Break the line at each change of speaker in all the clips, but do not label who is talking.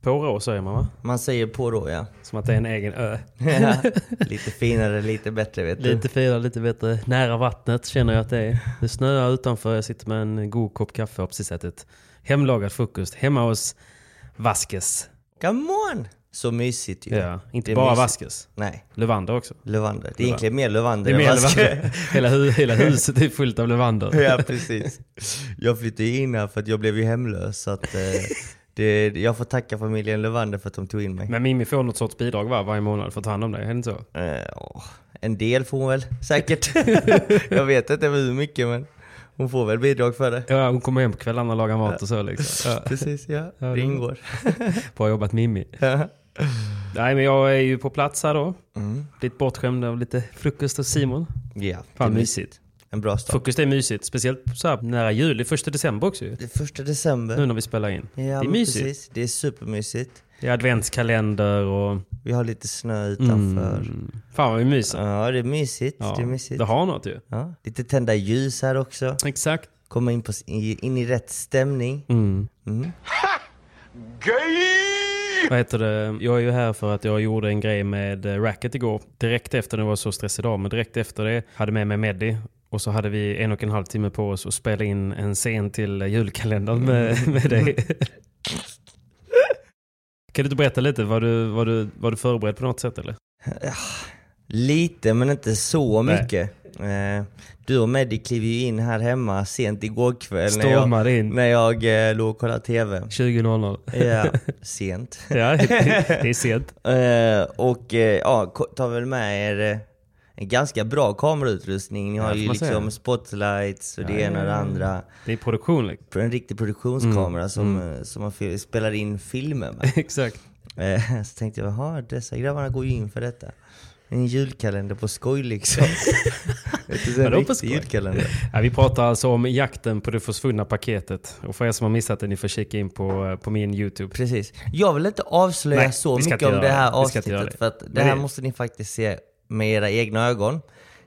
På rå säger man va?
Man säger på då ja.
Som att det är en egen ö.
Ja, lite finare, lite bättre vet du.
Lite finare, lite bättre. Nära vattnet känner jag att det är. Det snöar utanför. Jag sitter med en god kopp kaffe och har precis ätit hemlagad frukost hemma hos Vaskes.
Come on! Så mysigt ju.
Ja, inte
Det är
bara
mysigt.
Vaskes.
Nej,
Levander också.
Levander. Det är egentligen mer
Det
Levander
är
än
mer
Vaske.
levander. Hela, hu- hela huset är fullt av levander.
Ja precis. Jag flyttade ju in här för att jag blev ju hemlös. Så att, eh, det, jag får tacka familjen Levander för att de tog in mig.
Men Mimmi får något sorts bidrag va? varje månad för att ta hand om dig, är det inte så?
Eh, åh, en del får hon väl säkert. jag vet inte hur mycket men hon får väl bidrag för det.
Ja, hon kommer hem på kvällarna och lagar mat och så liksom. Ja.
Precis ja, det
det-
ingår.
Bra jobbat Mimmi. Nej men jag är ju på plats här då.
Mm.
Lite bortskämd av lite frukost och Simon.
Ja, det är
Fan
mysigt.
mysigt.
En bra start.
Frukost är mysigt. Speciellt så här nära jul. Det är första december också ju.
Det är första december.
Nu när vi spelar in.
Ja,
det är
men
mysigt.
Precis. Det är supermysigt.
Det är adventskalender och...
Vi har lite snö utanför.
Fan vad vi myser.
Ja, det är mysigt. Det är mysigt.
det har något ju.
Ja. Lite tända ljus här också.
Exakt.
Komma in, på, in i rätt stämning.
Mm.
Mm.
Vad heter det? Jag är ju här för att jag gjorde en grej med eh, racket igår. Direkt efter, det var så stressig dag, men direkt efter det hade med mig Meddi. Och så hade vi en och en halv timme på oss att spela in en scen till eh, julkalendern
Mm.
med, med dig. Kan du inte berätta lite? Var du, var, du, var du förberedd på något sätt eller?
Lite, men inte så
Nej.
mycket. Eh, du och Meddi klev ju in här hemma sent igår kväll när jag,
Stormade in
när jag eh, låg och kollade TV.
20.00.
Ja, sent.
Ja, det det är sent.
Eh, och eh, ja, ko- ta väl med er eh, en ganska bra kamerautrustning. Ni har
Ja, får
ju
man säga.
liksom spotlights och det
Ja,
ena och det
ja, ja.
andra.
Det är produktion liksom.
För En riktig produktionskamera
Mm.
som, eh, som man fi- spelar in filmer med.
Exakt.
Eh, så tänkte jag, jaha dessa grabbarna går ju in för detta. En julkalender på skoj liksom. Inte så
Ja, det var
en
på
riktig
skoj.
julkalender.
Ja, vi pratar alltså om jakten på det försvunna paketet. Och för er som har missat det, ni får kika in på, på min YouTube.
Precis. Jag vill inte avslöja
Nej,
så
vi ska
mycket
inte
om det
göra
här
det. Vi ska inte
avsnittet
göra det.
för att det
Men
här
det-
måste ni faktiskt se med era egna ögon.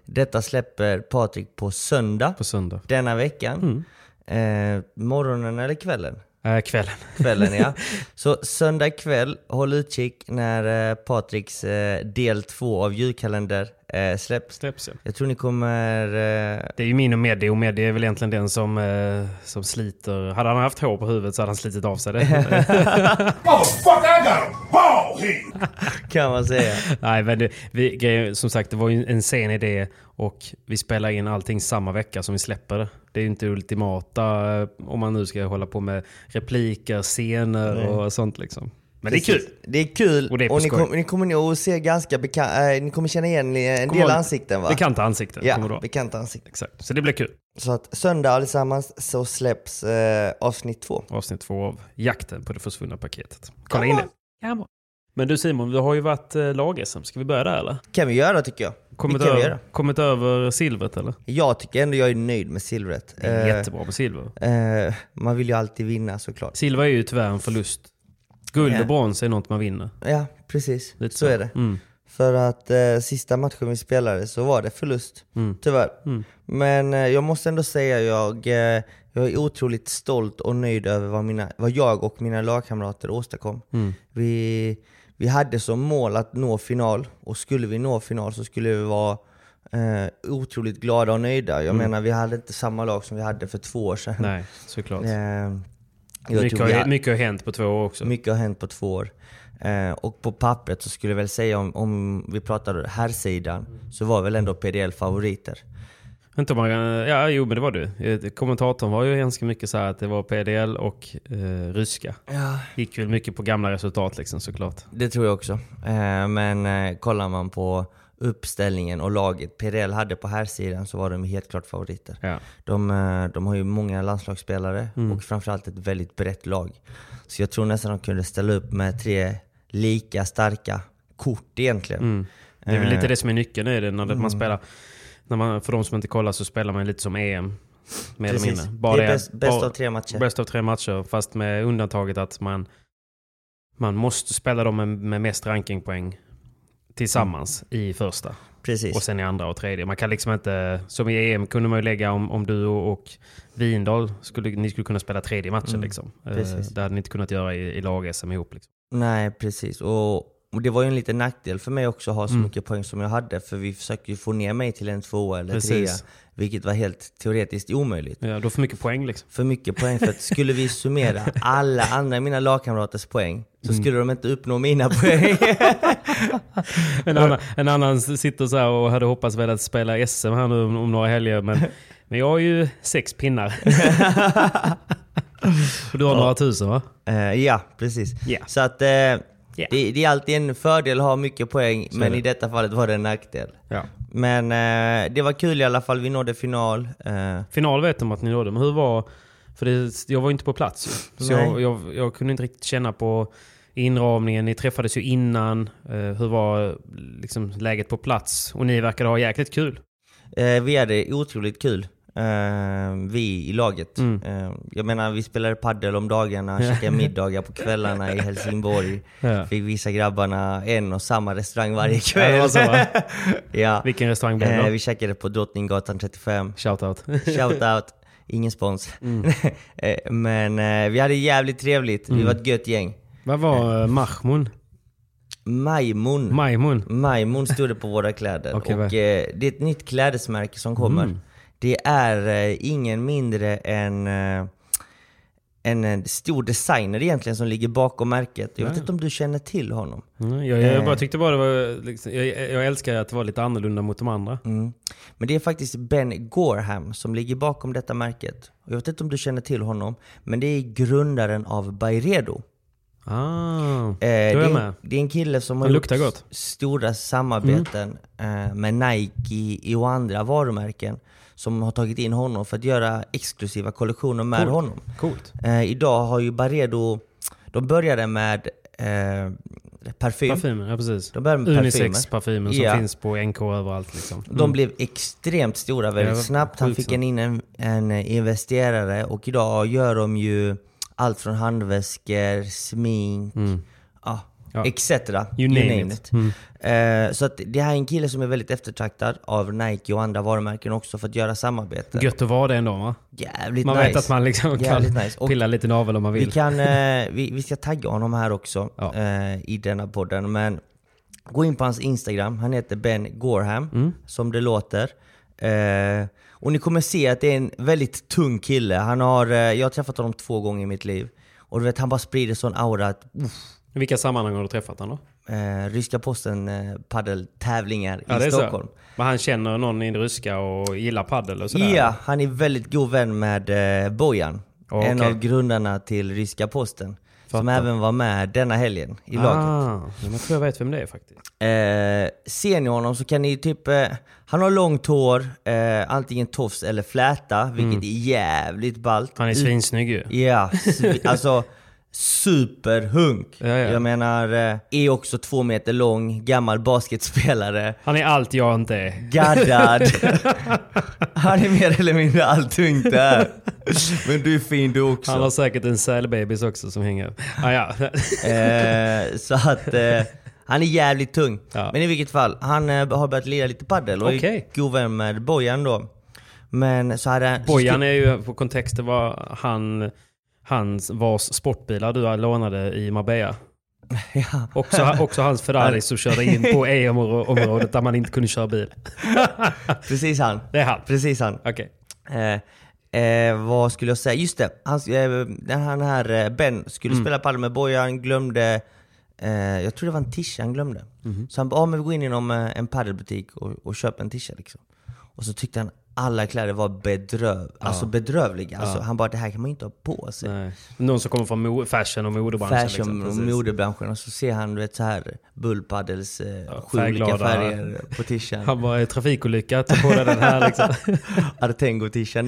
Detta släpper Patrik på söndag
På Mm. söndag.
denna veckan. Eh, morgonen eller kvällen?
Äh, kvällen.
Kvällen ja. Så söndag kväll, håll utkik när eh, Patriks eh, del två av julkalender eh, släpps.
Släpps ja.
Jag tror ni kommer... Eh,
Det är ju min och Medi. Och Medi är väl egentligen den som, eh, som sliter. Hade han haft hår på huvudet så hade han slitit av sig det.
Motherfucker, I got a ball here.
kan man säga.
Nej, men det, vi, grejen- som sagt, det var ju en sen idé. Och vi spelar in allting samma vecka som vi släpper det. Det är ju inte ultimata eh, om man nu ska hålla på med repliker, scener och sånt liksom. Men det är kul.
Det är kul
Och det är på
och ni,
skoj.
kom, ni kommer nog att se ganska bekant... Eh, ni kommer känna igen en
Kommer
del
ihåg-
ansikten va?
Bekanta ansikten kommer det
Ja,
vara.
bekanta ansikten.
Exakt. Så det blir kul.
Så att söndag allesammans så släpps eh, avsnitt två.
Avsnitt två av Jakten på det försvunna paketet. Kolla in det. Men du Simon, vi har ju varit eh, lag-SM. Ska vi börja där eller?
Kan vi göra tycker jag.
Kommit,
Det kan vi
över,
göra.
kommit över silvret eller?
Jag tycker ändå jag är nöjd med silvret.
Det är
Eh,
jättebra på silver.
eh, man vill ju alltid vinna såklart.
Silver är ju tyvärr en förlust. Guld
Ja.
och brons är något man vinner.
Ja, precis.
Lite
så
så.
är det.
Mm.
För att eh, sista matchen vi spelade så var det förlust,
Mm.
tyvärr. Men eh, jag måste ändå säga jag, eh, jag är otroligt stolt och nöjd över vad, mina, vad jag och mina lagkamrater åstadkom.
Mm.
Vi, vi hade som mål att nå final, och skulle vi nå final så skulle vi vara eh, otroligt glada och nöjda. Jag menar, vi hade inte samma lag som vi hade för två år sedan.
Mm. Nej, såklart.
Eh, jag
mycket,
tror vi
har,
hade-
mycket har hänt på två år också.
mycket har hänt på två år. Eh, och på pappret så skulle jag väl säga om, om vi pratar här sidan så var väl ändå PDL favoriter.
Inte om man, ja, jo, men det var du. Eh, Kommentatorn var ju ganska mycket så här att det var PDL och eh, ryska. Gick väl mycket på gamla resultat liksom såklart.
Det tror jag också. Eh, men eh, kollar man på uppställningen och laget PDL hade på här sidan så var de helt klart favoriter.
Ja.
De, eh, de har ju många landslagsspelare
Mm.
och framförallt ett väldigt brett lag. Så jag tror nästan de kunde ställa upp med tre lika starka kort egentligen.
Mm.
Eh,
Det är väl lite det som är nyckeln i det. När det-
Mm.
man spelar, när man, för de som inte kollar så spelar man lite som EM. Mer eller
Precis.
mindre.
det är
att-
bäst, bäst
bara-
av tre matcher.
Bäst av tre matcher, fast med undantaget att man, man måste spela dem med, med mest rankingpoäng tillsammans i första
Mm. Precis.
och sen i andra och tredje. Man kan liksom inte, som i EM kunde man ju lägga om, om du och, och Vindal skulle, ni skulle kunna spela tredje matchen
Mm,
liksom. Eh,
precis.
Det hade ni inte kunnat göra i, i lag-SM ihop. Liksom.
Nej, precis. Och, och det var ju en liten nackdel för mig också att ha så
Mm.
mycket poäng som jag hade. För vi försökte ju få ner mig till en tvåa eller trea.
Precis.
Vilket var helt teoretiskt omöjligt.
Ja, du har för mycket poäng liksom.
För mycket poäng. För att skulle vi summera alla andra mina lagkamraters poäng så
Mm.
skulle de inte uppnå mina poäng.
En annan, en annan sitter så här och hade hoppats väl att spela SM här nu om, om några helger. Men, men jag har ju sex pinnar. och du har några tusen va?
Eh, ja, precis.
Ja.
Så att eh, det, det är alltid en fördel att ha mycket poäng, men
det.
i detta fallet var det en nackdel.
Ja.
Men eh, det var kul i alla fall. Vi nådde final. Eh,
Final vet de att ni nådde, men hur var... För det, jag var ju inte på plats ju. Så
Nej.
jag, jag, jag kunde inte riktigt känna på inramningen. Ni träffades ju innan. Eh, hur var eh, liksom, läget på plats? Och ni verkade ha jäkligt kul.
Eh, vi hade otroligt kul. Eh, vi i laget.
Mm.
Eh, jag menar, vi spelade paddel om dagarna, käkade middagar på kvällarna i Helsingborg.
Ja. Mm.
Fick visa grabbarna en och samma restaurang varje
Ja,
kväll.
det var så, va?
Ja.
Vilken restaurang blev
Eh,
det? då?
vi käkade på Drottninggatan 35.
Shoutout.
Shout out. Ingen spons.
Mm.
Eh, Men eh, vi hade jävligt trevligt. Vi var ett gött gäng.
Vad var eh, Mahmoud?
Majmon.
Majmun?
Majmon stod det på våra kläder.
Okej,
och
vad- Mm.
eh, det är ett nytt klädesmärke som kommer. Det är eh, ingen mindre än eh, en eh, stor designer egentligen som ligger bakom märket. Jag vet inte om du känner till honom?
Mm, Jag,
Eh.
jag bara tyckte bara det var... Liksom, jag, jag älskar att det var lite annorlunda mot de andra.
Mm. Men det är faktiskt Ben Gorham som ligger bakom detta märket. Och Jag vet inte om du känner till honom, men det är grundaren av Byredo.
Ah, då
Eh,
är
det,
jag
är
med.
en, det är en kille som har
Den
gjort
luktar gott.
s- stora samarbeten eh, med Nike och andra varumärken som har tagit in honom för att göra exklusiva kollektioner med honom.
Coolt.
Eh, idag har ju Barredo, de började med eh, parfym.
Parfymen, ja precis.
De börjar med
Unisex-parfymen som
Ja.
finns på NK överallt liksom.
De blev extremt stora väldigt
Ja, det var
snabbt. Han
sjukt
fick
snabbt.
en in en, en eh, investerare och idag gör de ju allt från handväskor, smink, ja,
Mm. Ja.
etc.
You name it. Mm.
Eh, så att det här är en kille som är väldigt eftertraktad av Nike och andra varumärken också för att göra samarbete.
Gött att vara det ändå va?
Jävligt
Man
nice.
vet att man liksom kan
Jävligt nice. Och-
pilla lite navel om man
Vi,
vill.
kan, eh, vi, vi ska tagga honom här också
Ja.
eh, i denna podden. Men gå in på hans Instagram. Han heter Ben Gorham,
Mm.
som det låter. Eh, och ni kommer se att det är en väldigt tung kille. Han har, eh, jag har träffat honom två gånger i mitt liv. Och du vet, han bara sprider sån aura att uff,
I vilka sammanhang har du träffat honom då?
eh, Ryska posten eh, paddeltävlingar
Ja, det
i
är
Stockholm.
så. Men han känner någon i det ryska och gillar paddel och sådär?
Ja, han är väldigt god vän med eh, Bojan.
Ja,
En
okej.
av grundarna till Ryska posten. Som
Fattar.
även var med denna helgen i laget.
Ah, men jag tror jag vet vem det är faktiskt.
Eh, ser ni honom så kan ni typ, eh, han har långt hår, eh, antingen tofs eller fläta, vilket är jävligt ballt.
Mm. Han är
Ut-
svinsnygg ju.
Ja, svi- alltså superhunk.
Ja, ja.
Jag menar, eh, är också två meter lång, gammal basketspelare.
Han är allt jag inte är.
Gaddad. Han är mer eller mindre allt du inte är. Men du är fin du också.
Han har säkert en sälbebis också som hänger. Ah, ja.
Eh, så att eh, han är jävligt tung.
Ja.
Men i vilket fall, han eh, har börjat lira lite padel och
Okej.
är god vän med Bojan då. Men så hade han...
Bojan är ju, på kontexten var han, hans, vars sportbilar du lånade i Marbella.
Ja.
Också, också hans Ferrari som körde in på EU-området där man inte kunde köra bil.
Precis han.
Det är han.
Precis han.
Okej.
Eh, eh, vad skulle jag säga? Just det, han, eh, den här, den här eh, Ben skulle
Mm.
spela padel med Bojan, glömde... Eh, jag tror det var en tisha han glömde.
Mhm.
Så han bara, ah, men vi går in i någon, eh, en padelbutik och, och köper en tisha liksom. Och så tyckte han alla kläder var bedröv, alltså bedrövliga. Alltså, han bara, det här kan man ju inte ha på sig.
Nej. Någon som kommer från mo- fashion och modebranschen.
Fashion
liksom,
och
precis.
modebranschen och så ser han du vet, så här bullpaddels eh, sju olika
färgglada-
färger på tishan.
Han var i trafikolycka, ta på dig den här liksom.
Artengo-tishan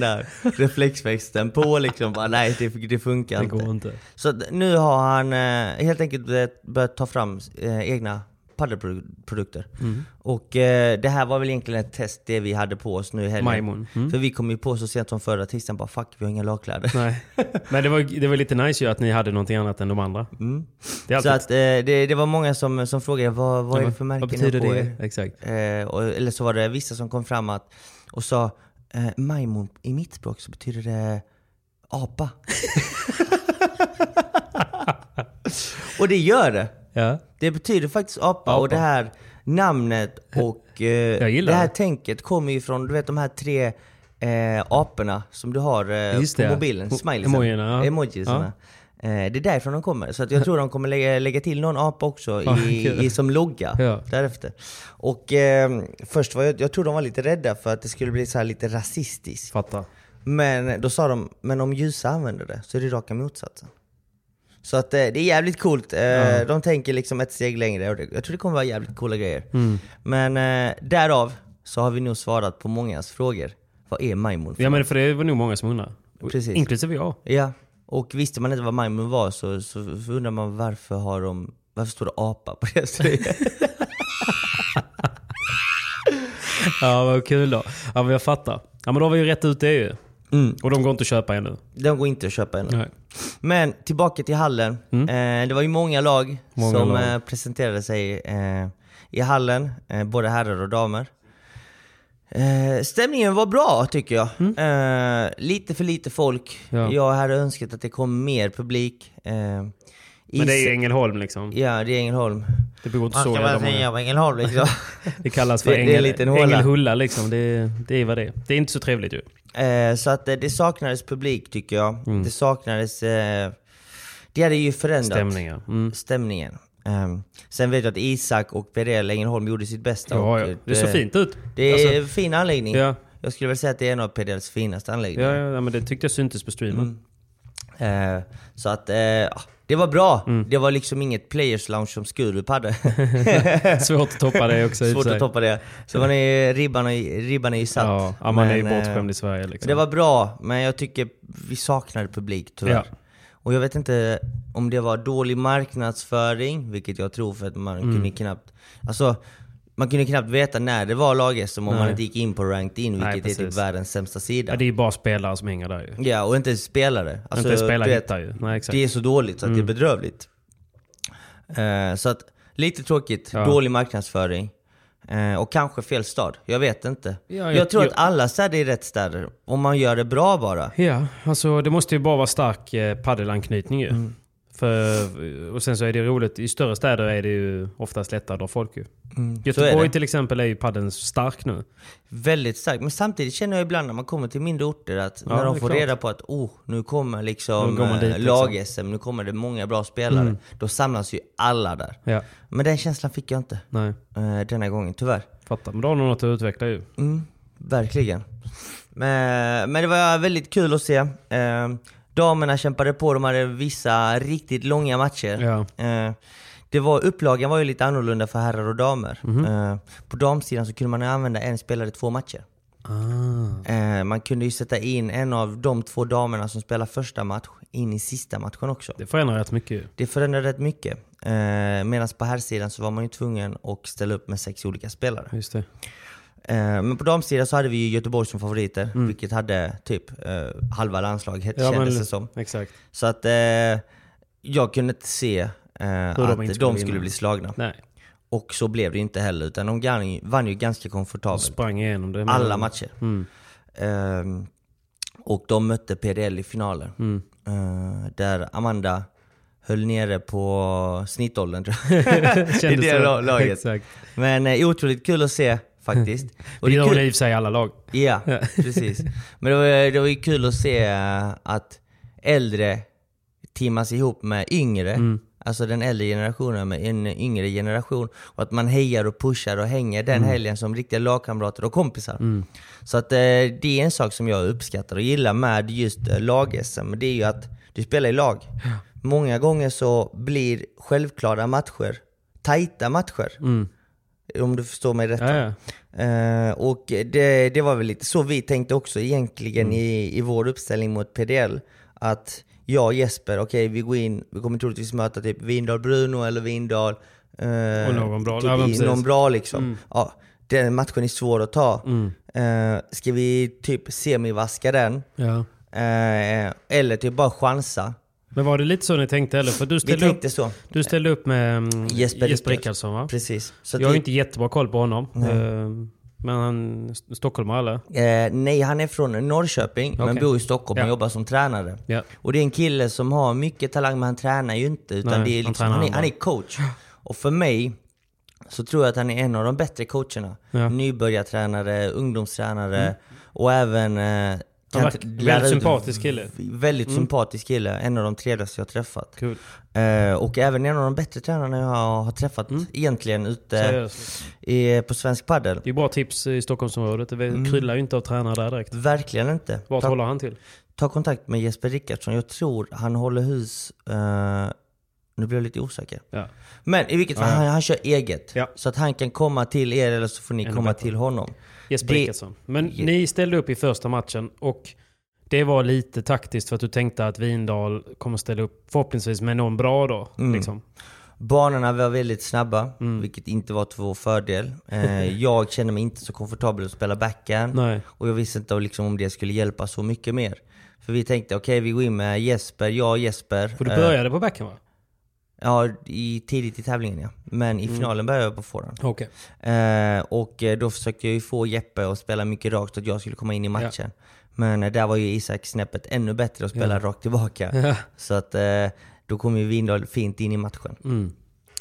där. Reflexväxten på liksom. Bara, nej, det, det funkar
Det
inte.
går inte.
Så att nu har han eh, helt enkelt börjat- börjat ta fram eh, egna paddelprodukter.
Mm.
Och eh, det här var väl egentligen ett test, det vi hade på oss nu i helgen.
Majmon.
För vi kom ju på så sent som förra tisdagen bara fuck, vi har inga lagkläder.
Nej. Men det var, det var lite nice ju att ni hade någonting annat än de andra. Det är
Så
alltid,
att, eh, det, det var många som, som frågade vad, vad är det för märken
alltså- vad
ni har
betyder
på
det?
er?"
Exakt.
Eh, och, eller så var det vissa som kom fram att, och sa eh, Majmon i mitt språk så betyder det apa. och det gör det.
Ja.
Det betyder faktiskt apa, och det här namnet och eh,
Jag gillar
det här
det.
tänket kommer ju från du vet de här tre eh, aporna som du har eh,
Just
på
det, ja.
mobilen,
Mo-
smileysarna.
emojierna, ja.
Emojisarna. Eh, det är därifrån de kommer. Så att jag tror de kommer lägga, lägga till någon apa också i,
kul.
i, som logga
Ja.
därefter. Och eh, först var jag, jag tror de var lite rädda för att det skulle bli så här lite rasistiskt.
Fattar.
Men då sa de, men om ljusa använder det så är det raka motsatsen. Så att eh, det är jävligt coolt. Eh, De tänker liksom ett steg längre och det, jag tror det kommer vara jävligt coola grejer. Men eh, därav så har vi nog svarat på mångas frågor. Vad är majmon? för
Ja men för det var nog många som undrade.
Precis.
Inklusive jag.
Ja, och visste man inte vad majmon var så, så undrar man varför har de... Varför står det apa på deras tröja?
Ja vad kul då. Ja men jag fattar. Ja men då har vi ju rätt ut det ju.
Mm.
Och de går inte att köpa ännu.
De går inte att köpa ännu. Men tillbaka till hallen. Eh, det var ju många lag
Mm. Många
som
lag.
Eh, presenterade sig eh, i hallen, eh, både herrar och damer. Eh, stämningen var bra tycker jag. Eh, lite för lite folk.
Mm. Ja.
Jag hade önskat att det kom mer publik. Eh, men
Men det är ju Ängelholm liksom.
Ja, det är Ängelholm.
Det bor inte
Man
så
ska
jävla
bara
många.
säga om Ängelholm liksom.
Det kallas för
Det- det är en
ängel,
liten håla.
ängelhulla liksom. Det, det är vad det är. Det är inte så trevligt ju.
Eh, så att eh, det saknades publik tycker jag.
Mm.
Det saknades... Eh, det hade ju förändrat
Stämningar. Mm.
stämningen. Ehm, sen vet jag att Isak och Perel Ängelholm gjorde sitt bästa.
Ja,
och,
ja.
eh,
Det såg fint ut.
Det är
Alltså,
en fin anläggning.
Ja.
Jag skulle väl säga att det är en av Perels finaste anläggningar.
ja, ja, ja, men det tyckte jag syntes på streamen.
Eh, så att, eh, ja, det var bra.
Mm.
Det var liksom inget players lounge som Skurup hade.
Svårt att toppa det också i och för
Mm. Svårt
sig.
att toppa det. Så man är, ribban, är, ribban är ju satt.
Ja, ja, man är ju
Men, eh,
bortskämd i Sverige liksom.
Det var bra, men jag tycker vi saknade publik tyvärr.
Ja.
Och jag vet inte om det var dålig marknadsföring, vilket jag tror för att man
Mm.
kunde knappt... Alltså, man kunde knappt veta när det var lag som om man inte gick in på Ranked In, vilket
Nej,
är typ
precis.
världens sämsta sida.
ja, det är ju bara spelare som hänger där ju.
Ja, och inte ens spelare. Alltså,
ens spelare
du
hittar ju. Nej, exakt. Mm.
Det är så dåligt så att det är bedrövligt. Eh, så att, lite tråkigt. Dålig marknadsföring. Eh, och kanske fel stad. Jag vet inte. jag,
jag-
tror
jag-
att alla städer är rätt städer. Om man gör det bra bara.
Ja, alltså det måste ju bara vara stark eh, paddelanknytning ju.
Mm.
För, och sen så är det roligt, i större städer är det ju oftast lättare att dra folk ju.
Mm. är
Göteborg
det. till
till exempel är ju paddeln stark nu.
Väldigt starkt. Men samtidigt känner jag ibland när man kommer till mindre orter att när de
det är
får
klart.
reda på att oh, nu kommer
Nu
liksom
går man dit, Mm.
eh, lag-SM, nu kommer det många bra spelare. Då samlas ju alla där.
Ja,
Men den känslan fick jag inte
nej.
eh, denna gången, tyvärr.
Fattar. Men då har de något att utveckla ju.
Mm. Verkligen. Men, men det var väldigt kul att se. Eh, damerna kämpade på, de hade vissa riktigt långa matcher. Eh, det var, upplagan var ju lite annorlunda för herrar och damer. Eh, på damsidan så kunde man använda en spelare i två matcher. Eh, man kunde ju sätta in en av de två damerna som spelar första match in i sista matchen också.
Det förändrar rätt mycket ju.
Det förändrade rätt mycket. Eh, Medan på här sidan så var man ju tvungen att ställa upp med sex olika spelare.
Just det.
Eh, men på damsidan så hade vi ju Göteborg som favoriter,
Mm.
vilket hade typ eh, halva landslaget kändes det som.
Exakt.
Så att eh, jag kunde inte se eh, att
inte
de
skulle
skulle,
vinna.
bli slagna.
Nej,
Och så blev det inte heller, utan de gan- vann ju ganska komfortabelt.
sprang igenom det.
Alla matcher.
Mm.
Ehm, och de mötte PDL i finalen.
Mm.
Eh, där Amanda höll nere på snittåldern tror jag. I
Kändes
det la- laget.
Exakt.
Men eh, otroligt kul att se faktiskt.
Och det
är
gör
kul-
det i och för sig i alla lag.
Ja, precis. Men det var, det var ju kul att se eh, att äldre teamas ihop med yngre. Alltså den äldre generationen med en yngre generation. Och att man hejar och pushar och hänger den helgen som riktiga lagkamrater och kompisar. Så att eh, det är en sak som jag uppskattar och gillar med just eh, lag-SM. Det är ju att du spelar i lag. Många gånger så blir självklara matcher tajta matcher. Om du förstår mig rätt.
Ja, ja.
Eh, och det, det var väl lite så vi tänkte också egentligen
Mm.
i, i vår uppställning mot PDL. Att jag och Jesper, okej vi går in, vi kommer troligtvis möta typ Vindal Bruno eller Vindal... eh,
Och någon bra.
Typ,
Ja, men
i-
precis. Mm.
någon bra liksom. Ja, den matchen är svår att ta. Eh, ska vi typ semivaska den?
Ja.
Eh, eller typ bara chansa?
Men var det lite så ni tänkte eller? För du
Vi
ställde,
tänkte
upp,
så.
du ställde upp med mm,
Jesper
Jesper
Rickards.
Rickardsson va?
Precis. Så att
Jag har
vi-
ju inte jättebra koll på honom. Eh, Men han st- stockholmare eller?
Eh, nej, han är från Norrköping men
Okej.
bor i Stockholm och
Ja.
jobbar som tränare.
Ja.
Och det är en kille som har mycket talang men han tränar ju inte. Utan
Nej,
det är
han
liksom,
tränar
han, är,
andra.
han är coach. Och för mig så tror jag att han är en av de bättre coacherna.
Ja. Mm.
Nybörjartränare, ungdomstränare och även... Eh, kan
verkar-
t-
väldigt
lära ut-
sympatisk kille. Mm.
Väldigt sympatisk kille. En av de trevligaste jag har träffat.
Kul.
Eh, och även en av de bättre tränarna jag har, har träffat egentligen ute
Mm. Seriöst.
i, på svensk padel.
Det är bra tips i Stockholmsområdet. Det
Mm.
kryllar ju inte av tränare där direkt.
Verkligen inte.
Vart
Ta-
håller han till?
Ta kontakt med Jesper Rickardsson. Jag tror han håller hus... eh, nu blir jag lite osäker.
Ja.
Men i vilket fall, han, han kör eget.
Ja.
Så att han kan komma till er eller så får ni komma
bättre.
till honom.
Jesper
Det-
Rickardsson. Men
Je-
ni ställde upp i första matchen och det var lite taktiskt för att du tänkte att Vindal kommer ställa upp förhoppningsvis med någon bra då.
Mm.
Liksom.
Banorna var väldigt snabba,
Mm.
vilket inte var till vår fördel. Eh, jag kände mig inte så komfortabel att spela backhand.
Nej.
Och jag visste inte liksom, om det skulle hjälpa så mycket mer. För vi tänkte, okej vi går in med Jesper, jag och Jesper.
För du
Eh,
började på backhand va?
ja, i, tidigt i tävlingen ja. Men
Mm.
i finalen började jag på forehand.
Okej.
Eh, och eh, då försökte jag ju få Jeppe att spela mycket rakt så att jag skulle komma in i matchen. Men eh, där var ju Isak snäppet ännu bättre att spela rakt tillbaka. Så att eh, då kom ju Windahl fint in i matchen.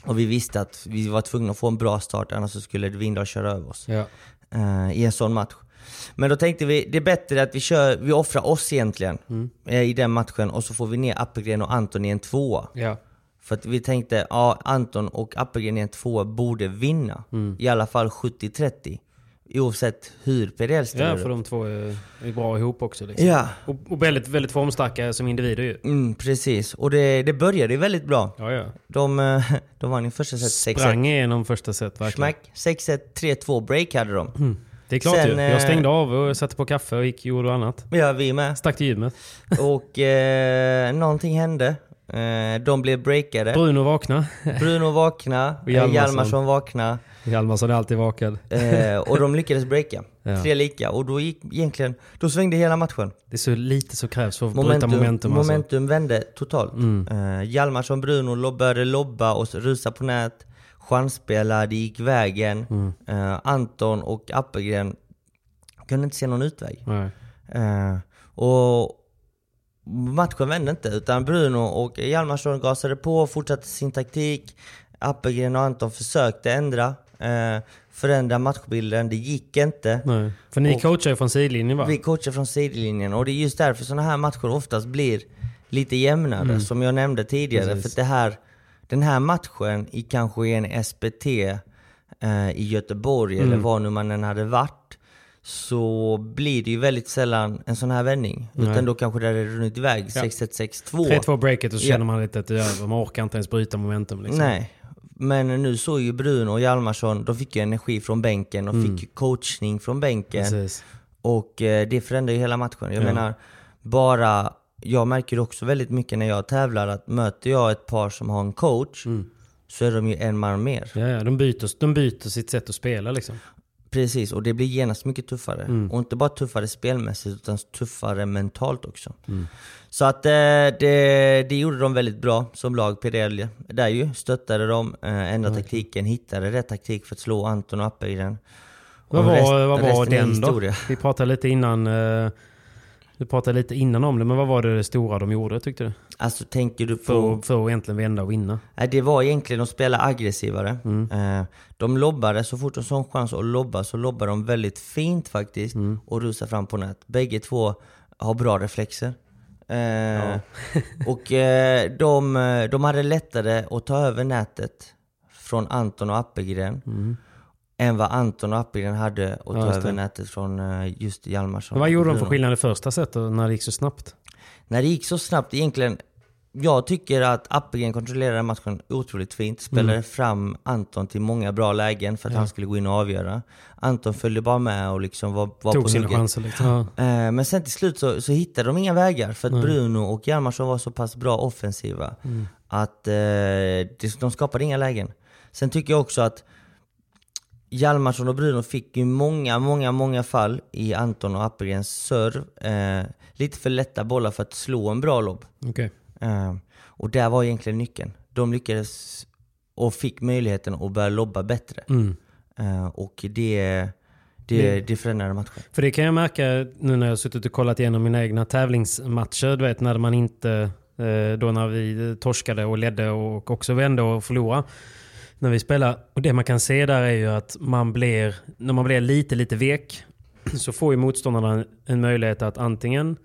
Och vi visste att vi var tvungna att få en bra start annars så skulle Windahl köra över oss
Ja.
eh, i en sån match. Men då tänkte vi, det är bättre att vi, kör, vi offrar oss egentligen eh, i den matchen och så får vi ner Appelgren och Anton i en tvåa.
ja.
För att vi tänkte, ja Anton och Appelgren i en tvåa borde vinna.
Mm.
I alla fall 70-30. Oavsett hur PDL ställer
Ja, för
upp.
de två är, är bra ihop också. Liksom.
Ja,
Och, och väldigt, väldigt formstarka som individer ju.
mm, precis. Och det, det började ju väldigt bra.
Ja, ja.
De, eh, de vann ju första set 6-1.
Sprang igenom första set verkligen.
Smack, 6-1, 3-2 break hade de.
Det är klart
Sen,
ju.
eh,
Jag stängde av och satte på kaffe och gick gjorde annat.
Ja, vi med.
Stack till gymmet.
Och eh, någonting hände. Eh, de blev breakade.
Bruno vakna.
Bruno vakna, eh,
Hjalmarsson.
Hjalmarsson vakna.
Hjalmarsson är alltid vakad.
Eh, och de lyckades breaka.
Ja.
Tre lika. Och då gick egentligen, då svängde hela matchen.
Det är så lite som krävs för att
Momentum,
bryta momentum.
momentum,
alltså. Mm.
vände totalt. Eh, Hjalmarsson Bruno lo- började lobba och s- rusa på nät. Chansspelare, det gick vägen.
Mm.
Eh, Anton och Appelgren kunde inte se någon utväg.
Nej.
Eh, och matchen vände inte, utan Bruno och Hjalmarsson gasade på och fortsatte sin taktik. Appelgren och Anton försökte ändra, eh, förändra matchbilden. Det gick inte.
Nej. För ni
Och-
coachar ju från sidlinjen va?
Vi coachar från sidlinjen och det är just därför sådana här matcher oftast blir lite jämnare, som jag nämnde tidigare. För att det här, den här matchen i kanske en SPT eh, i Göteborg, eller var nu man än hade varit, så blir det ju väldigt sällan en sån här vändning. Utan då kanske det hade runnit iväg 6-1-6-2.
3-2 breaket och så
Ja.
känner man lite att det är över. Man orkar inte ens bryta momentum. Liksom.
Nej, men nu såg ju Bruno och Hjalmarsson, de fick ju energi från bänken, de fick ju coachning från bänken.
Precis.
Och eh, det förändrar ju hela matchen. Jag menar, bara... Jag märker också väldigt mycket när jag tävlar att möter jag ett par som har en coach så är de ju en man mer.
Ja, ja, de, byter, de byter sitt sätt att spela liksom.
Precis, och det blir genast mycket tuffare. Och inte bara tuffare spelmässigt, utan tuffare mentalt också. Så att eh, det, det gjorde de väldigt bra som lag, Pirelli. Där ju, stöttade de, eh, ändrade taktiken, hittade rätt taktik för att slå Anton och Appe i den.
Vad
Och
var,
rest-
vad var
resten är
den då?
historia.
Vi pratade lite innan eh, vi pratade lite innan om det, men vad var det stora de gjorde tyckte du?
Alltså tänker du på...
För, att- för att egentligen vända och vinna.
Nej, det var egentligen att spela aggressivare. Eh, de lobbade, så fort de såg en chans att lobba så lobbade de väldigt fint faktiskt och rusade fram på nät. Bägge två har bra reflexer. Eh, och eh, de, eh, de hade lättare att ta över nätet från Anton och Appelgren än vad Anton och Appelgren hade att ta
Mm. just
över
det.
nätet från eh, just Hjalmarsson.
Men vad gjorde de för
Bruno.
skillnad i första setet när det gick så snabbt?
När det gick så snabbt egentligen. Jag tycker att Appelgren kontrollerade matchen otroligt fint. Spelade
Mm.
fram Anton till många bra lägen för att han skulle gå in och avgöra. Anton följde bara med och liksom var, var på
Tog sina
hugget.
chanser liksom. Ja.
Eh, Men sen till slut så, så hittade de inga vägar för att Bruno och Hjalmarsson var så pass bra offensiva att eh, det- de skapade inga lägen. Sen tycker jag också att Hjalmarsson och Bruno fick ju många, många, många fall i Anton och Appelgrens serv. Eh, lite för lätta bollar för att slå en bra lobb.
Okej.
Eh, och där var egentligen nyckeln. De lyckades och fick möjligheten att börja lobba bättre. Eh, och det, det, det förändrade matchen.
För det kan jag märka nu när jag har suttit och kollat igenom mina egna tävlingsmatcher. Du vet när man inte, eh, då när vi torskade och ledde och också vände och förlorade. När vi spelar. Och det man kan se där är ju att man blir, när man blir lite, lite vek. Så får ju motståndarna en- en möjlighet att antingen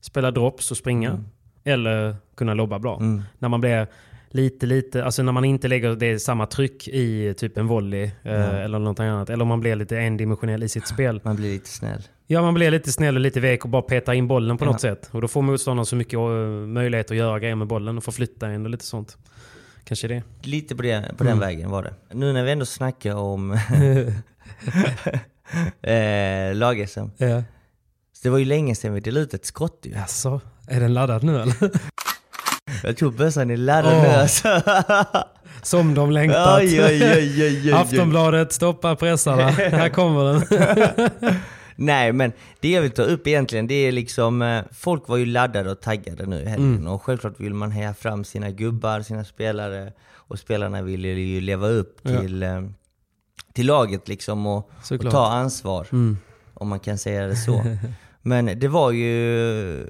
spela drops och springa. Eller kunna lobba bra. När man blir lite, lite, alltså när man inte lägger det samma tryck i typ en volley eh, eller något annat. Eller om man blir lite endimensionell i sitt spel.
Man blir lite snäll.
Ja, man blir lite snäll och lite vek och bara petar in bollen på något sätt. Och då får motståndaren så mycket eh, möjlighet att göra grejer med bollen och förflytta en och lite sånt. Kanske det.
Lite på, det,
Mm.
på den vägen var det. Nu när vi ändå snackar om eh, lag SM.
Ja.
Så det var ju länge sedan vi delade ut ett skott ju.
Alltså, är den laddad nu eller?
Jag tror bössan är laddad nu
Åh.
alltså.
Som de längtat.
Aj, aj, aj, aj, aj, aj.
Aftonbladet, stoppa pressarna. Här kommer den.
Nej men det jag vill ta upp egentligen det är liksom, eh, folk var ju laddade och taggade nu i helgen
Mm.
och självklart vill man heja fram sina gubbar, sina spelare och spelarna vill ju leva upp till, eh, till laget liksom och, och
Såklart. Mm.
ta ansvar. Om man kan säga det så. men det var ju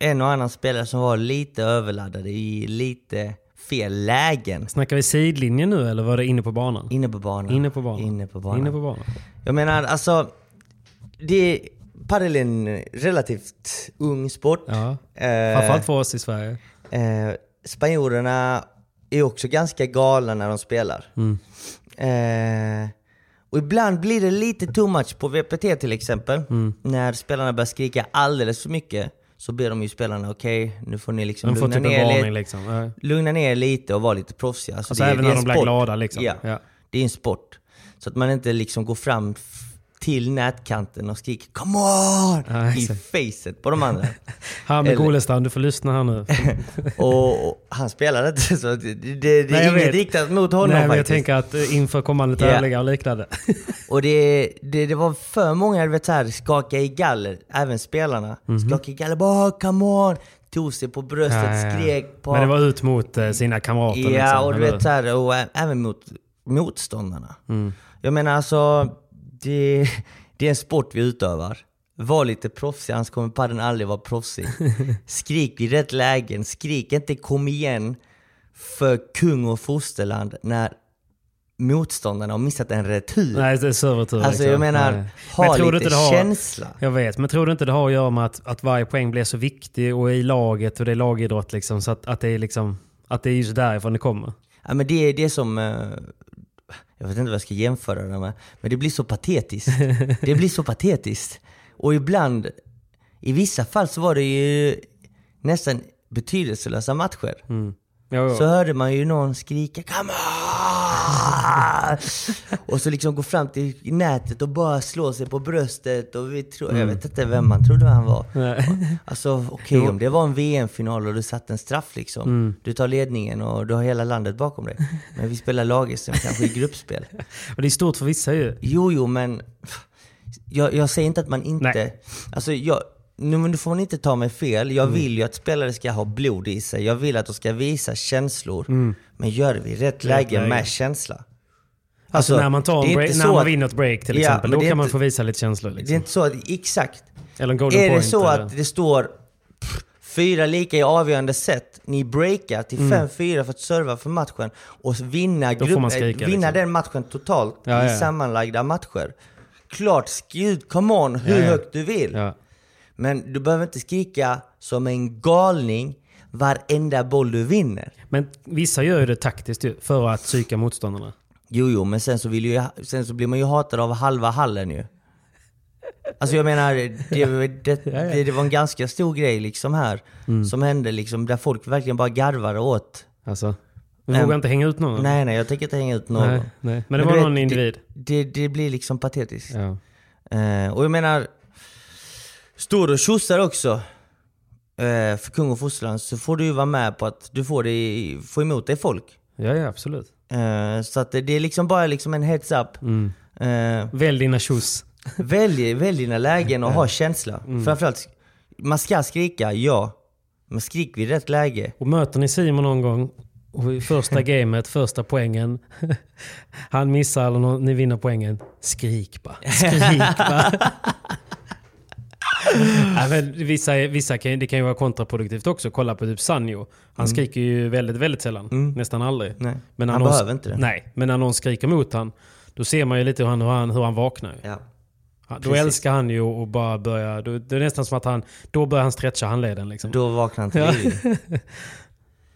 en och annan spelare som var lite överladdade i lite fel lägen
Snackar vi sidlinjen nu eller var det inne på banan?
inne på banan.
Inne på banan.
Inne på banan.
Inne på banan.
Jag menar alltså, det, padel är en relativt ung sport.
Ja.
Eh,
Framförallt för oss i Sverige.
eh, spanjorerna är också ganska galna när de spelar.
Mm.
Eh, och ibland blir det lite too much på VPT till exempel.
Mm.
När spelarna börjar skrika alldeles för mycket så ber de ju spelarna okej, nu får ni liksom
De får
lugna
typ
ner
en
er
varning
lite.
liksom. Ja.
Lugna ner er lite och vara lite proffsiga. Alltså,
Alltså
det är-
även
det är
när de
en
blir
sport.
glada liksom.
Ja.
Ja.
Det är en sport. Så att man inte liksom går fram f- till nätkanten och skriker 'Come on!'
Ja,
i
exakt.
facet på de andra.
Hamid
Eller-
Golestam, du får lyssna här nu.
och, och han spelar inte så det, det, det
Nej, jag
är inget
vet.
riktat mot honom
Nej, men jag
faktiskt.
tänker att eh, inför kommande
Ja.
tävlingar och liknande.
Och det, det, det var för många, du vet såhär, skaka i galler, även spelarna.
Mhm.
Skaka i galler, bara oh, 'Come on!' Tog sig på bröstet, skrek på...
Men det var ut mot eh, sina kamrater.
Ja,
liksom,
och du
eller?
vet så här, och ä- även mot motståndarna.
Mm.
Jag menar alltså, det, det är en sport vi utövar. Var lite proffsig, annars kommer padden aldrig vara proffsig. Skrik i rätt lägen, skrik inte kom igen för kung och fosterland när motståndarna har missat en retur.
Nej, det är servertur.
Alltså, jag menar, ha
tror du
lite
inte det har-
känsla.
Jag vet, men tror du inte det har att göra med att, att varje poäng blir så viktig och i laget och det är lagidrott liksom. Så att, att det är liksom, att det är just därifrån det kommer.
Ja, men det är det är som... eh, Jag vet inte vad jag ska jämföra det med, men det blir så patetiskt. Det blir så patetiskt. Och ibland, i vissa fall så var det ju nästan betydelselösa matcher.
Jo, jo.
Så hörde man ju någon skrika 'Come on!' Ah! Och så liksom gå fram till nätet och bara slå sig på bröstet. Och vi tro, Jag vet inte vem man trodde han var. Alltså okej, om det var en VM-final och du satte en straff liksom. Du tar ledningen och du har hela landet bakom dig. Men vi spelar lag som kanske i gruppspel.
Och det är stort för vissa ju. Alltså,
Jo, jo, men jag, jag säger inte att man inte...
Nej. Mm.
Alltså, jag, nu, men nu får man inte ta mig fel. Jag vill ju att spelare ska ha blod i sig. Jag vill att de ska visa känslor. Men gör det vid rätt läge
Mm. läge.
med känsla.
Alltså, när man, tar
det är
en
inte
break,
så
när man
att-
vinner ett break till
Ja,
exempel,
men
då
det är
kan man
inte-
få visa lite känslor.
Det är
Liksom.
inte så att, exakt.
Eller en golden
är
point.
det så
eller-
att det står fyra lika i avgörande set, ni breakar till 5-4 för att serva för matchen och vinna,
Mm. Då får man
eh,
skrika,
vinna
liksom.
den matchen totalt
Ja,
i
ja.
sammanlagda matcher. Klart skriv, come on, hur
Ja, ja.
högt du vill.
Ja.
Men du behöver inte skrika som en galning varenda boll du vinner.
Men vissa gör ju det taktiskt ju, för att psyka motståndarna.
Jo, jo, men sen så, vill ju, sen så blir man ju hatad av halva hallen ju. Alltså jag menar, det, det, det, det var en ganska stor grej liksom här.
Mm.
Som hände liksom, där folk verkligen bara garvade åt.
Alltså, vi
Nej.
vågar inte hänga ut någon.
Nej, nej, jag tänker inte hänga ut någon.
Nej, nej. Men det
du
var någon
det-
individ.
Det, det, blir liksom patetiskt.
Ja.
Eh, och jag menar, står och tjosar också eh, för kung och fostran så får du ju vara med på att du får, det, får emot dig folk.
ja, ja, absolut.
Eh, så att det, det är liksom bara liksom en heads up.
Mm.
Eh,
Välj dina tjus.
Välj, välj dina lägen och
Mm.
ha känsla. Framförallt, man ska skrika ja. Men skrik vid rätt läge.
Och möter ni Simon någon gång, och i första gamet, första poängen, han missar eller nå- ni vinner poängen, skrik bara. Skrik bara. Nej, men vissa, vissa kan, ju- det kan ju vara kontraproduktivt också. Kolla på typ Sanjo. Han skriker ju väldigt, väldigt sällan. Nästan aldrig.
Mm. Nej,
när
han
någon-
behöver inte det.
Nej, men när någon skriker mot han, då ser man ju lite hur han, hur han, hur han vaknar. ju.
Ja.
Han- Då
precis.
älskar han ju att bara börja... Då, det är nästan som att han... Då börjar han stretcha handleden liksom.
Då vaknar han till liv.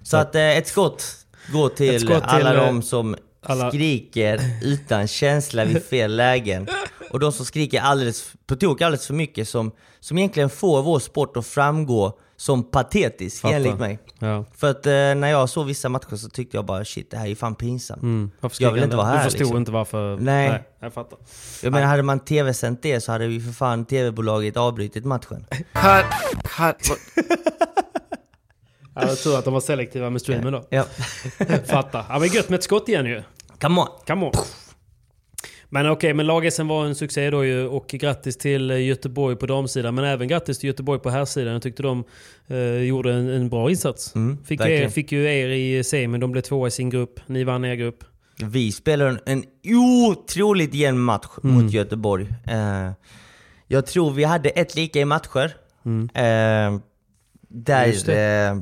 Så att eh, ett skott går till,
Ett skott till,
alla
eh,
de som
alla-
skriker utan känsla vid fel lägen. Och de som skriker alldeles, på tok alldeles för mycket som, som egentligen får vår sport att framgå som patetisk
Fattar.
enligt mig.
Ja.
För att eh, när jag såg vissa matcher så tyckte jag bara shit det här är ju fan pinsamt.
Varför
Jag
skrek
vill
han
inte
det?
vara här,
Du förstod
liksom.
inte varför...
Nej.
jag fattar.
Jag menar hade man tv-sänt det så hade ju för fan tv-bolaget avbrutit matchen.
Ja, jag tror att de var selektiva med streamen då.
Ja.
Fattar. Ja, men gött med ett skott igen ju.
Come on!
Come on. Men okej, men lag-SM var en succé då ju och grattis till Göteborg på damsidan. Men även grattis till Göteborg på herrsidan. Jag tyckte de eh, gjorde en, en bra insats. fick, ju er,
Mm, verkligen.
fick ju er i semin, de blev tvåa i sin grupp. Ni vann er grupp.
Vi spelar en, en otroligt jämn match
Mm.
mot Göteborg. Eh, jag tror vi hade ett lika i matcher. Eh,
Mm. Just
där eh,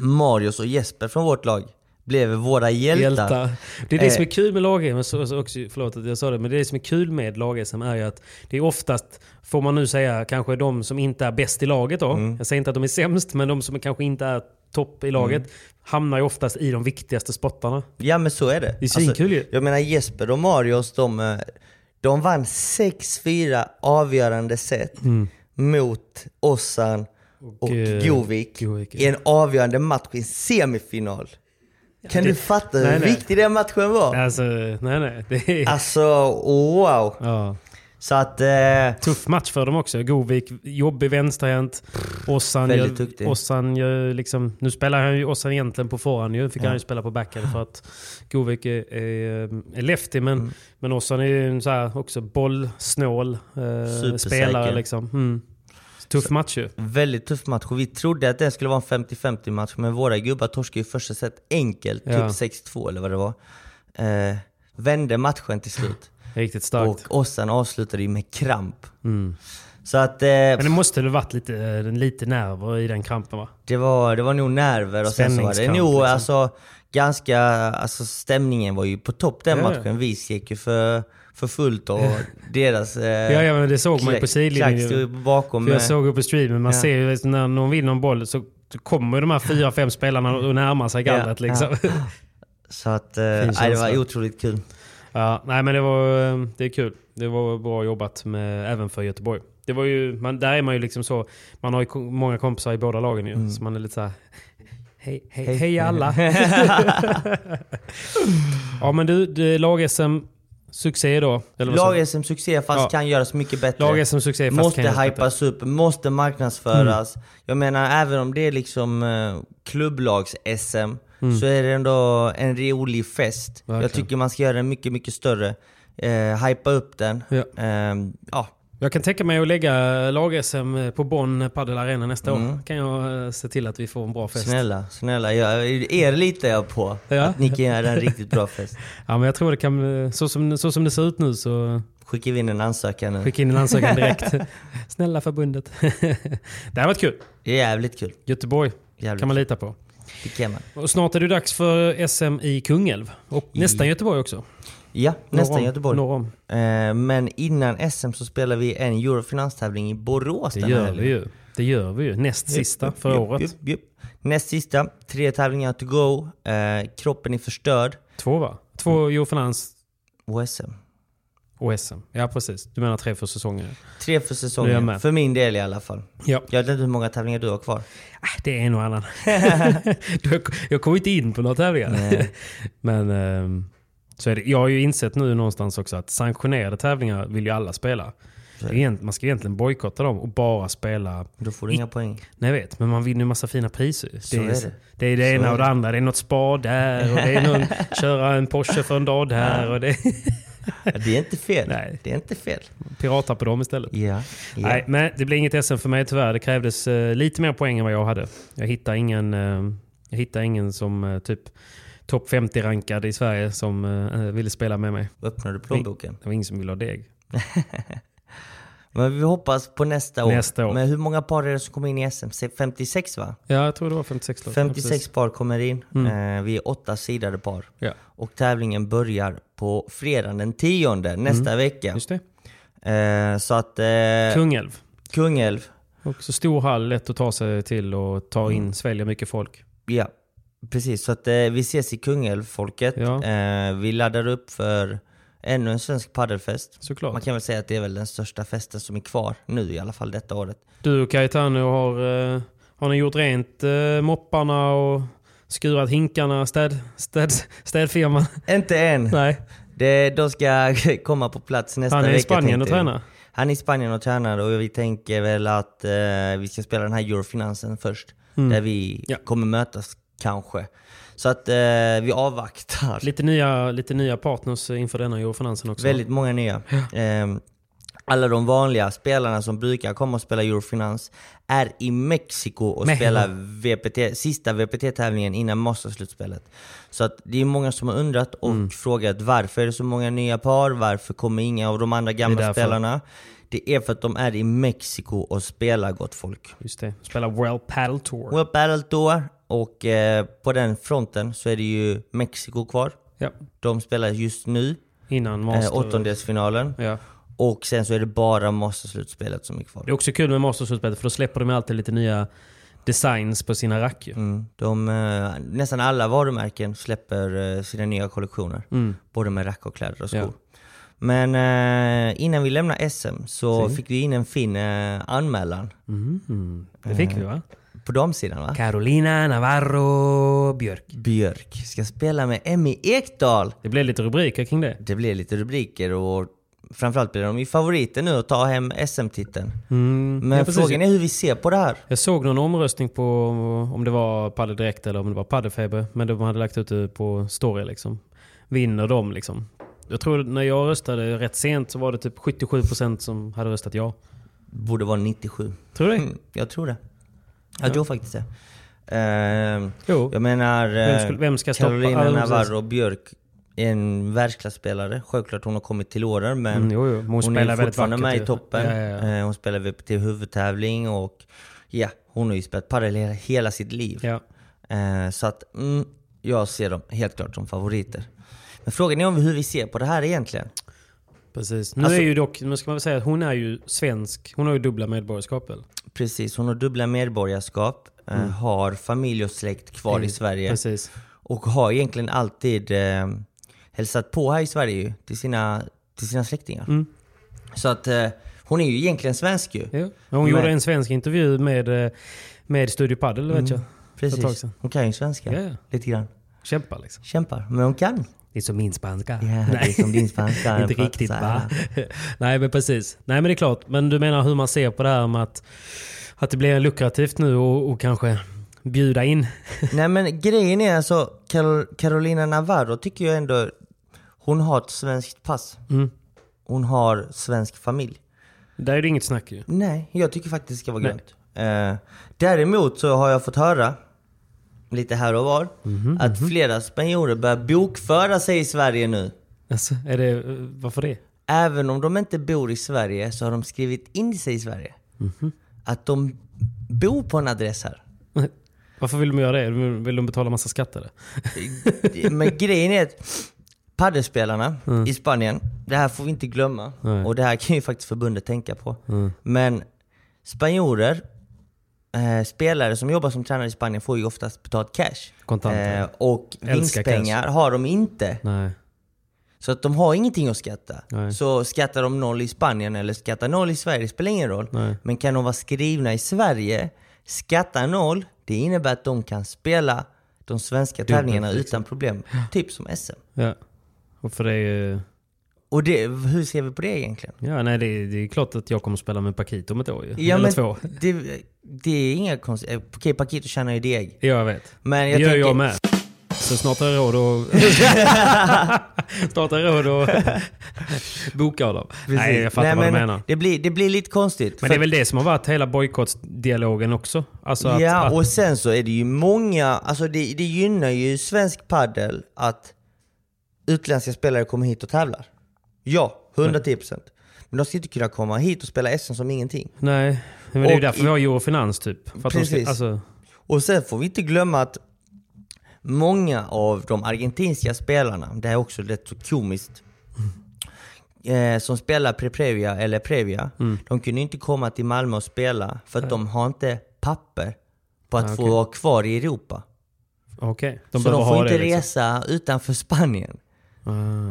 Marius och Jesper från vårt lag blev våra hjältar.
Hjältar. Det är det
Eh.
som är kul med lag men så- så också, förlåt att jag sa det, men det är det som är kul med lag som är ju att det är oftast, får man nu säga, kanske de som inte är bäst i laget då.
Mm.
Jag säger inte att de är sämst, men de som kanske inte är topp i laget
Mm.
hamnar ju oftast i de viktigaste spottarna.
Ja men så är det. Alltså,
Det är svinkul ju.
Jag menar Jesper och Marius, de, eh, de vann 6-4 avgörande set mot Ossan och
Mm. eh,
Govik
Govik,
i en avgörande match i en semifinal. Kan
det-
du fatta
nej,
hur
nej.
viktig den matchen var?
Alltså, nej nej. Det är,
Alltså wow!
ja.
Så att... Eh,
Tuff match för dem också. Govik, jobbig vänsterhänt. Ossan,
Väldigt
gör,
duktig.
Ossan gör liksom... Nu spelar han ju Ossan egentligen på forehand ju. Fick han ju spela på backhand för att Govik är, är, eh, är lefty. Men,
Mm.
men Ossan är ju en så här också bollsnål eh,
Supersäker.
spelare liksom. Mm. Tuff match ju.
Väldigt tuff match och vi trodde att det skulle vara en 50-50 match men våra gubbar torskade ju första set enkelt,
Ja.
typ 6-2 eller vad det var. Eh, vände matchen till slut.
Riktigt starkt.
Och Ossan avslutade ju med kramp. Så att eh,
Mm. men det måste väl varit lite, eh, lite nerver i den krampen va?
det, var, det var nog nerver och sen så var det
Spänningskamp,
nog
liksom.
alltså, ganska, alltså stämningen var ju på topp den
Ja, ja.
matchen. Vi skrek ju för, för fullt och deras... Eh,
Ja, ja men det såg man ju på
klack- klack
sidlinjen.
stod
ju.
ju bakom.
För jag
eh,
såg ju på streamen, man
Ja.
ser ju när någon vinner en boll så kommer ju de här fyra, fem spelarna och närmar sig gallret.
Ja,
Liksom. Ja.
Så att, eh, nej, det var
känsla.
otroligt kul.
nej, men det, var, eh, det är kul. Det var bra jobbat med, även för Göteborg. Det var ju, man, där är man ju liksom så, man har ju ko- många kompisar i båda lagen ju. Så man är lite så här, "Hej, Hej, hej, hej alla! ja men du, du lag-SM succé då? Eller vad sa du?
Lag-SM succé fast
Ja.
kan göras mycket bättre.
Lag-SM succé fast
måste
kan göras Mm.
hypas upp, måste marknadsföras. Jag menar även om det är liksom eh, klubblags-SM
Mm.
så är det ändå en rolig fest. Jag tycker man ska göra den mycket, mycket större. Eh, hypa upp den.
Ja.
Ehm, ja.
Jag kan tänka mig att lägga lag-SM på Bonn Padel Arena nästa år. Kan jag eh, se till att vi får en bra fest.
Snälla, snälla. Jag, er litar jag på.
Ja.
Att ni kan göra en riktigt bra fest.
Ja men jag tror det kan, eh, så som, så som det ser ut nu så
Skickar vi in en ansökan nu.
skicka in en ansökan direkt. Snälla förbundet. det här var kul.
Det är jävligt kul.
Göteborg
Jävligt.
kan man lita på.
Det kan man.
Och snart är det dags för SM i Kungälv. Och nästan Göteborg också.
Ja, nästan
om-
Göteborg.
norr om.
Eh, men innan SM så spelar vi en eurofinanstävling i Borås
Det
den här
gör
helgen.
vi ju. Det gör vi ju. Näst sista för
Jupp,
året.
jupp, jupp. Näst sista, tre tävlingar to go. Eh, kroppen är förstörd.
Två va?
Mm.
Två Eurofinans
Och SM.
och SM. Ja precis. Du menar tre för säsongen.
Tre för
Nu är jag
säsongen.
med.
för min del i alla fall.
Ja.
Jag vet inte hur många tävlingar du har kvar.
Ah, Det är en och annan. Du, jag kommer inte in på några tävlingar. Men ehm, så är det. jag har ju insett nu någonstans också att sanktionerade tävlingar vill ju alla spela. Egent- Man ska egentligen bojkotta dem och bara spela...
Då får du inga poäng.
Nej jag vet, men man vinner ju massa fina priser. ju.
Så
det,
är det.
det är det ena och det andra. Det är något spa där och det är någon köra en Porsche för en dag där. Och det är
Ja, Det är inte fel.
Nej.
Det är inte fel.
pirata på dem istället.
Ja. ja.
Nej, men det blir inget SM för mig tyvärr. Det krävdes eh, lite mer poäng än vad jag hade. Jag hittade ingen, eh, jag hittade ingen som eh, typ topp 50-rankad i Sverige som eh, ville spela med mig.
Öppnar du plånboken?
Det var ingen som ville ha deg.
Men vi hoppas på nästa år.
Nästa år.
Men hur många par är det som kommer in i SM? Se- 56 va?
Ja, jag tror det var 56 då.
56
Ja,
par kommer in.
Mm.
Eh, vi är åtta sidade par.
Ja.
Och tävlingen börjar på fredagen den 10 nästa vecka.
Mm. Just det.
Eh, så att... Eh,
Kungälv.
Kungälv.
Också stor hall, lätt att ta sig till och
Mm.
ta in, svälja mycket folk.
Ja, precis. Så att eh, vi ses i Kungälv, folket.
Ja.
Eh, vi laddar upp för ännu en svensk paddelfest.
Såklart.
Man kan väl säga att det är väl den största festen som är kvar nu i alla fall detta året.
Du och Caetano har, eh, har ni gjort rent eh, mopparna och skurat hinkarna, städ, städ, städfirman?
Inte än!
Nej,
Det, de ska komma på plats nästa
han
vecka.
är i Spanien och
tänkte vi.
tränar.
Han är i Spanien och tränar och vi tänker väl att eh, vi ska spela den här Eurofinansen först. Där vi
Ja.
kommer mötas kanske. Så att eh, vi avvaktar.
Lite nya, lite nya partners inför denna Eurofinansen också.
Väldigt många nya. Ehm, alla de vanliga spelarna som brukar komma och spela Eurofinans är i Mexiko och
Mexiko.
spelar VPT, sista VPT-tävlingen innan Masters-slutspelet. Så att det är många som har undrat och
Mm.
frågat varför är det så många nya par? Varför kommer inga av de andra
Det är
gamla
därför.
spelarna? Det är för att de är i Mexiko och spelar gott folk.
Just det. Spela World Paddle Tour.
World Battle Tour och eh, på den fronten så är det ju Mexiko kvar.
Ja.
De spelar just nu
Innan
eh,
Master.
åttondelsfinalen.
Ja.
Och sen så är det bara Masterslutspelet som är
Det
kvar.
är också kul med Masters-slutspelet för då släpper de alltid lite nya designs på sina rack ju.
Mm. De, eh, nästan alla varumärken släpper eh, sina nya kollektioner. Både med rack och kläder och skor.
Mm. Ja.
Men eh, innan vi lämnar SM så fick vi in en fin eh, anmälan.
Mm. Det fick vi va?
På damsidan va?
Carolina Navarro Björk.
Björk ska spela med Emmy Ekdal.
Det blev lite rubriker kring det.
Det blir lite rubriker och framförallt blir de ju favoriter nu att ta hem SM-titeln. Men
Mm. ja, precis.
frågan är hur vi ser på det här.
Jag såg någon omröstning på om det var Padel Direkt eller om det var Padelfeber. Men de hade lagt ut det på story liksom. Vinner de liksom. Jag tror när jag röstade rätt sent så var det typ 77% som hade röstat ja.
Borde vara 97.
Tror du det?
Mm, jag tror det. Jag tror faktiskt det. Ehm,
Jo.
jag menar, eh,
Vem skulle- vem ska stoppa-
Carolina
Ja, precis.
Navarro Björk är en världsklasspelare. Självklart hon har kommit till åren men
Mm, jo, jo. Men hon spelar
är
väldigt
fortfarande
vackert
med
ju.
i toppen.
Ja, ja, ja.
Eh, Hon spelar VPT huvudtävling och ja, hon har ju spelat padel hela, hela sitt liv.
Ja.
Eh, så att mm, jag ser dem helt klart som favoriter. Men frågan är om hur vi ser på det här egentligen.
Precis. Nu
Alltså-
är ju dock, nu ska man väl säga att hon är ju svensk. Hon har ju dubbla medborgarskap väl?
Precis, hon har dubbla medborgarskap, eh, har familj och släkt kvar i Sverige.
Mm. Precis.
Och har egentligen alltid eh, hälsat på här i Sverige ju, till sina, till sina släktingar. Så att eh, hon är ju egentligen svensk ju.
Mm. Ja. Hon
Men-
gjorde en svensk intervju med, eh, med Studio Padel, vet jag. ett tag
Mm. Precis.
sedan.
Hon kan ju svenska.
Ja, ja.
Lite grann.
Kämpa liksom.
Kämpar. Men hon kan.
Det är som min spanska.
Ja, det är som din spanska.
Inte riktigt va? Nej men precis. Nej men det är klart. Men du menar hur man ser på det här med att, att det blir lukrativt nu och, och kanske bjuda in.
Nej men grejen är alltså, Carol- Carolina Navarro tycker jag ändå, hon har ett svenskt pass.
Mm.
Hon har svensk familj.
Där är det inget snack ju.
Nej, jag tycker faktiskt det ska vara grönt. Eh, däremot så har jag fått höra, lite här och var, att flera spanjorer börjar bokföra sig i Sverige nu.
Alltså, är det, varför det?
Även om de inte bor i Sverige så har de skrivit in sig i Sverige. Att de bor på en adress här.
Varför vill de göra det? Vill de betala massa skatt eller?
Men grejen är att paddelspelarna
Mm.
i Spanien, det här får vi inte glömma. Och det här kan ju faktiskt förbundet tänka på.
Mm.
Men spanjorer, eh, spelare som jobbar som tränare i Spanien får ju oftast betalt cash.
Kontanter.
Eh, och
Älskar
vinstpengar har de inte.
Nej.
Så att de har ingenting att skatta.
Nej.
Så skattar de noll i Spanien eller skattar noll i Sverige, det spelar ingen roll.
Nej.
Men kan de vara skrivna i Sverige, skatta noll, det innebär att de kan spela de svenska tävlingarna
liksom.
utan problem. Typ som SM.
Ja. Och för det är ju...
Och det, hur ser vi på det egentligen?
Ja, nej, det är, det är klart att jag kommer spela med Paquito om ett år ju. eller två.
Det, det är inga konstigt. Okej, Paquito tjänar ju deg.
Ja, jag vet.
Men
Det
jag
gör
tänker,
jag med. Så snart har jag råd att... snart har jag råd att boka honom.
Precis.
Nej, jag fattar
Nej,
vad du
men
menar.
Det blir, det blir lite konstigt.
Men det är väl det som har varit hela bojkottsdialogen också? Alltså att,
ja,
att,
och sen så är det ju många, alltså det, det gynnar ju svensk paddel att utländska spelare kommer hit och tävlar. Ja, 110%. Men de ska inte kunna komma hit och spela SM som ingenting.
Nej, men det är ju
och
därför
i-
vi har Eurofinans typ. För att De
Precis.
ska, alltså,
Och sen får vi inte glömma att många av de argentinska spelarna, det här är också rätt så komiskt, eh, som spelar Preprevia eller Previa,
Mm.
de kunde inte komma till Malmö och spela för att de har inte papper på
Ah,
att få vara kvar i Europa.
okej. De
så
behöver
de får
ha
inte
det liksom. Ah.
resa utanför Spanien.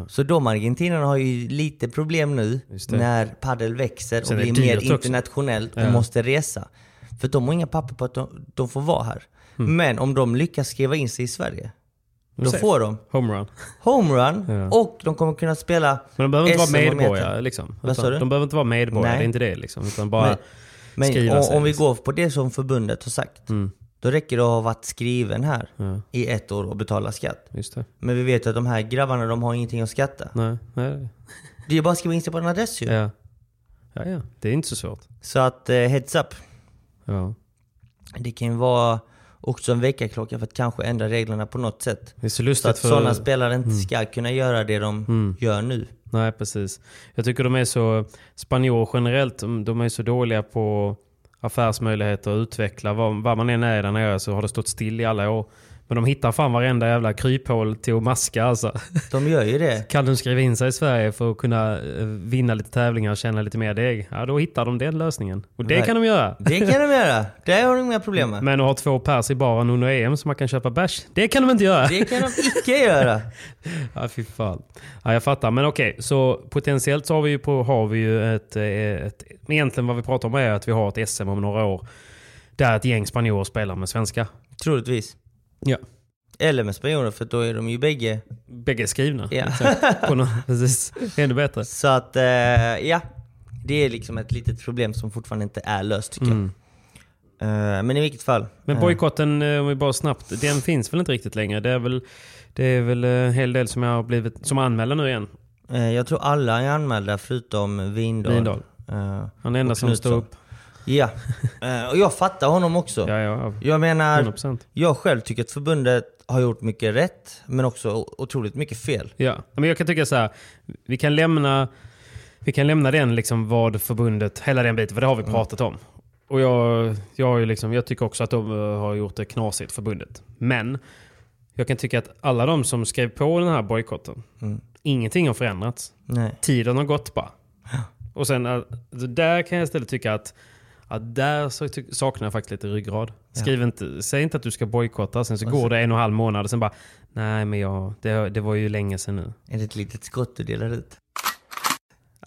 Så de argentinarna har ju lite problem nu när padel växer och
Sen är det
blir mer
dyrt också.
internationellt och måste resa. För de har inga papper på att de, de får vara här.
Mm.
Men om de lyckas skriva in sig i Sverige, då
Safe.
får de
Homerun.
homerun och de kommer kunna spela
Men de behöver inte vara
SM och
medborgare
meta.
liksom.
E Vad
Utan
sa du?
De behöver inte vara medborgare,
Nej.
det är inte det liksom. Utan bara...
Men- Men
skriva sig, Mm.
om, om vi
liksom.
går på det som förbundet har sagt, då räcker det att ha varit skriven här i ett år och betala skatt.
Just det.
Men vi vet att de här grabbarna, de har ingenting att skatta.
Nej, nej.
Det är bara att skriva in sig på en adress ju.
Ja. ja, ja. Det är inte så svårt.
Så att eh, heads up.
Ja,
Det kan ju vara också en väckarklocka för att kanske ändra reglerna på något sätt.
det är så
Så att
lustigt för... mm.
sådana spelare inte ska kunna göra det de gör nu.
Nej, precis. Jag tycker de är så... Spanjor generellt, de- de är så dåliga på affärsmöjligheter och utveckla. Vad, vad man än är där nere så har det stått still i alla år. Men de hittar fan varenda jävla kryphål till att maska alltså.
De gör ju det.
Kan de skriva in sig i Sverige för att kunna eh, vinna lite tävlingar och tjäna lite mer deg? Ja, då hittar de den lösningen. Och det
Ver-
kan de göra.
Det kan de göra. Det har de inga problem med.
Men att ha två pers i baren under EM som man kan köpa bärs, det kan de inte göra.
Det kan de icke göra.
Ja, fy fan. Ja, jag fattar. Men okej, så potentiellt så har vi ju, på, har vi ju ett, eh, ett... Egentligen vad vi pratar om är att vi har ett SM om några år. Där ett gäng spanjorer spelar med svenska.
Troligtvis.
Ja.
Eller med spanjorer för då är de ju bägge.
Bägge är skrivna. liksom.
Ja.
På något, precis. Ännu bättre.
Så att eh, ja, det är liksom ett litet problem som fortfarande inte är löst tycker jag. Eh, men i vilket fall.
Mm. Men
eh,
bojkotten, eh, om vi bara snabbt, den finns väl inte riktigt längre? Det är väl, det är väl eh, en hel del som jag har blivit, som anmäler nu igen.
Eh, Jag tror alla är anmälda förutom Windahl.
Windahl.
Eh,
Han är den enda
Och
som står
Knutsson.
upp.
Ja, Eh, och jag fattar honom också.
Ja, ja,
Jag menar,
100%.
jag själv tycker att förbundet har gjort mycket rätt, men också o- otroligt mycket fel.
Ja, men jag kan tycka så här. Vi kan lämna, vi kan lämna den liksom vad förbundet, hela den biten, för det har vi pratat om. Och jag, jag, har ju liksom, jag tycker också att de eh, har gjort det knasigt, förbundet. Men jag kan tycka att alla de som skrev på den här bojkotten, ingenting har förändrats.
Nej.
Tiden har gått bara. Och sen, eh, så där kan jag istället tycka att, att där så ty- saknar jag faktiskt lite ryggrad. Skriv inte, säg inte att du ska bojkotta, sen så går det en och en halv månad och sen bara, nej men jag, det, det var ju länge sedan nu.
Är det ett litet skott du delar ut?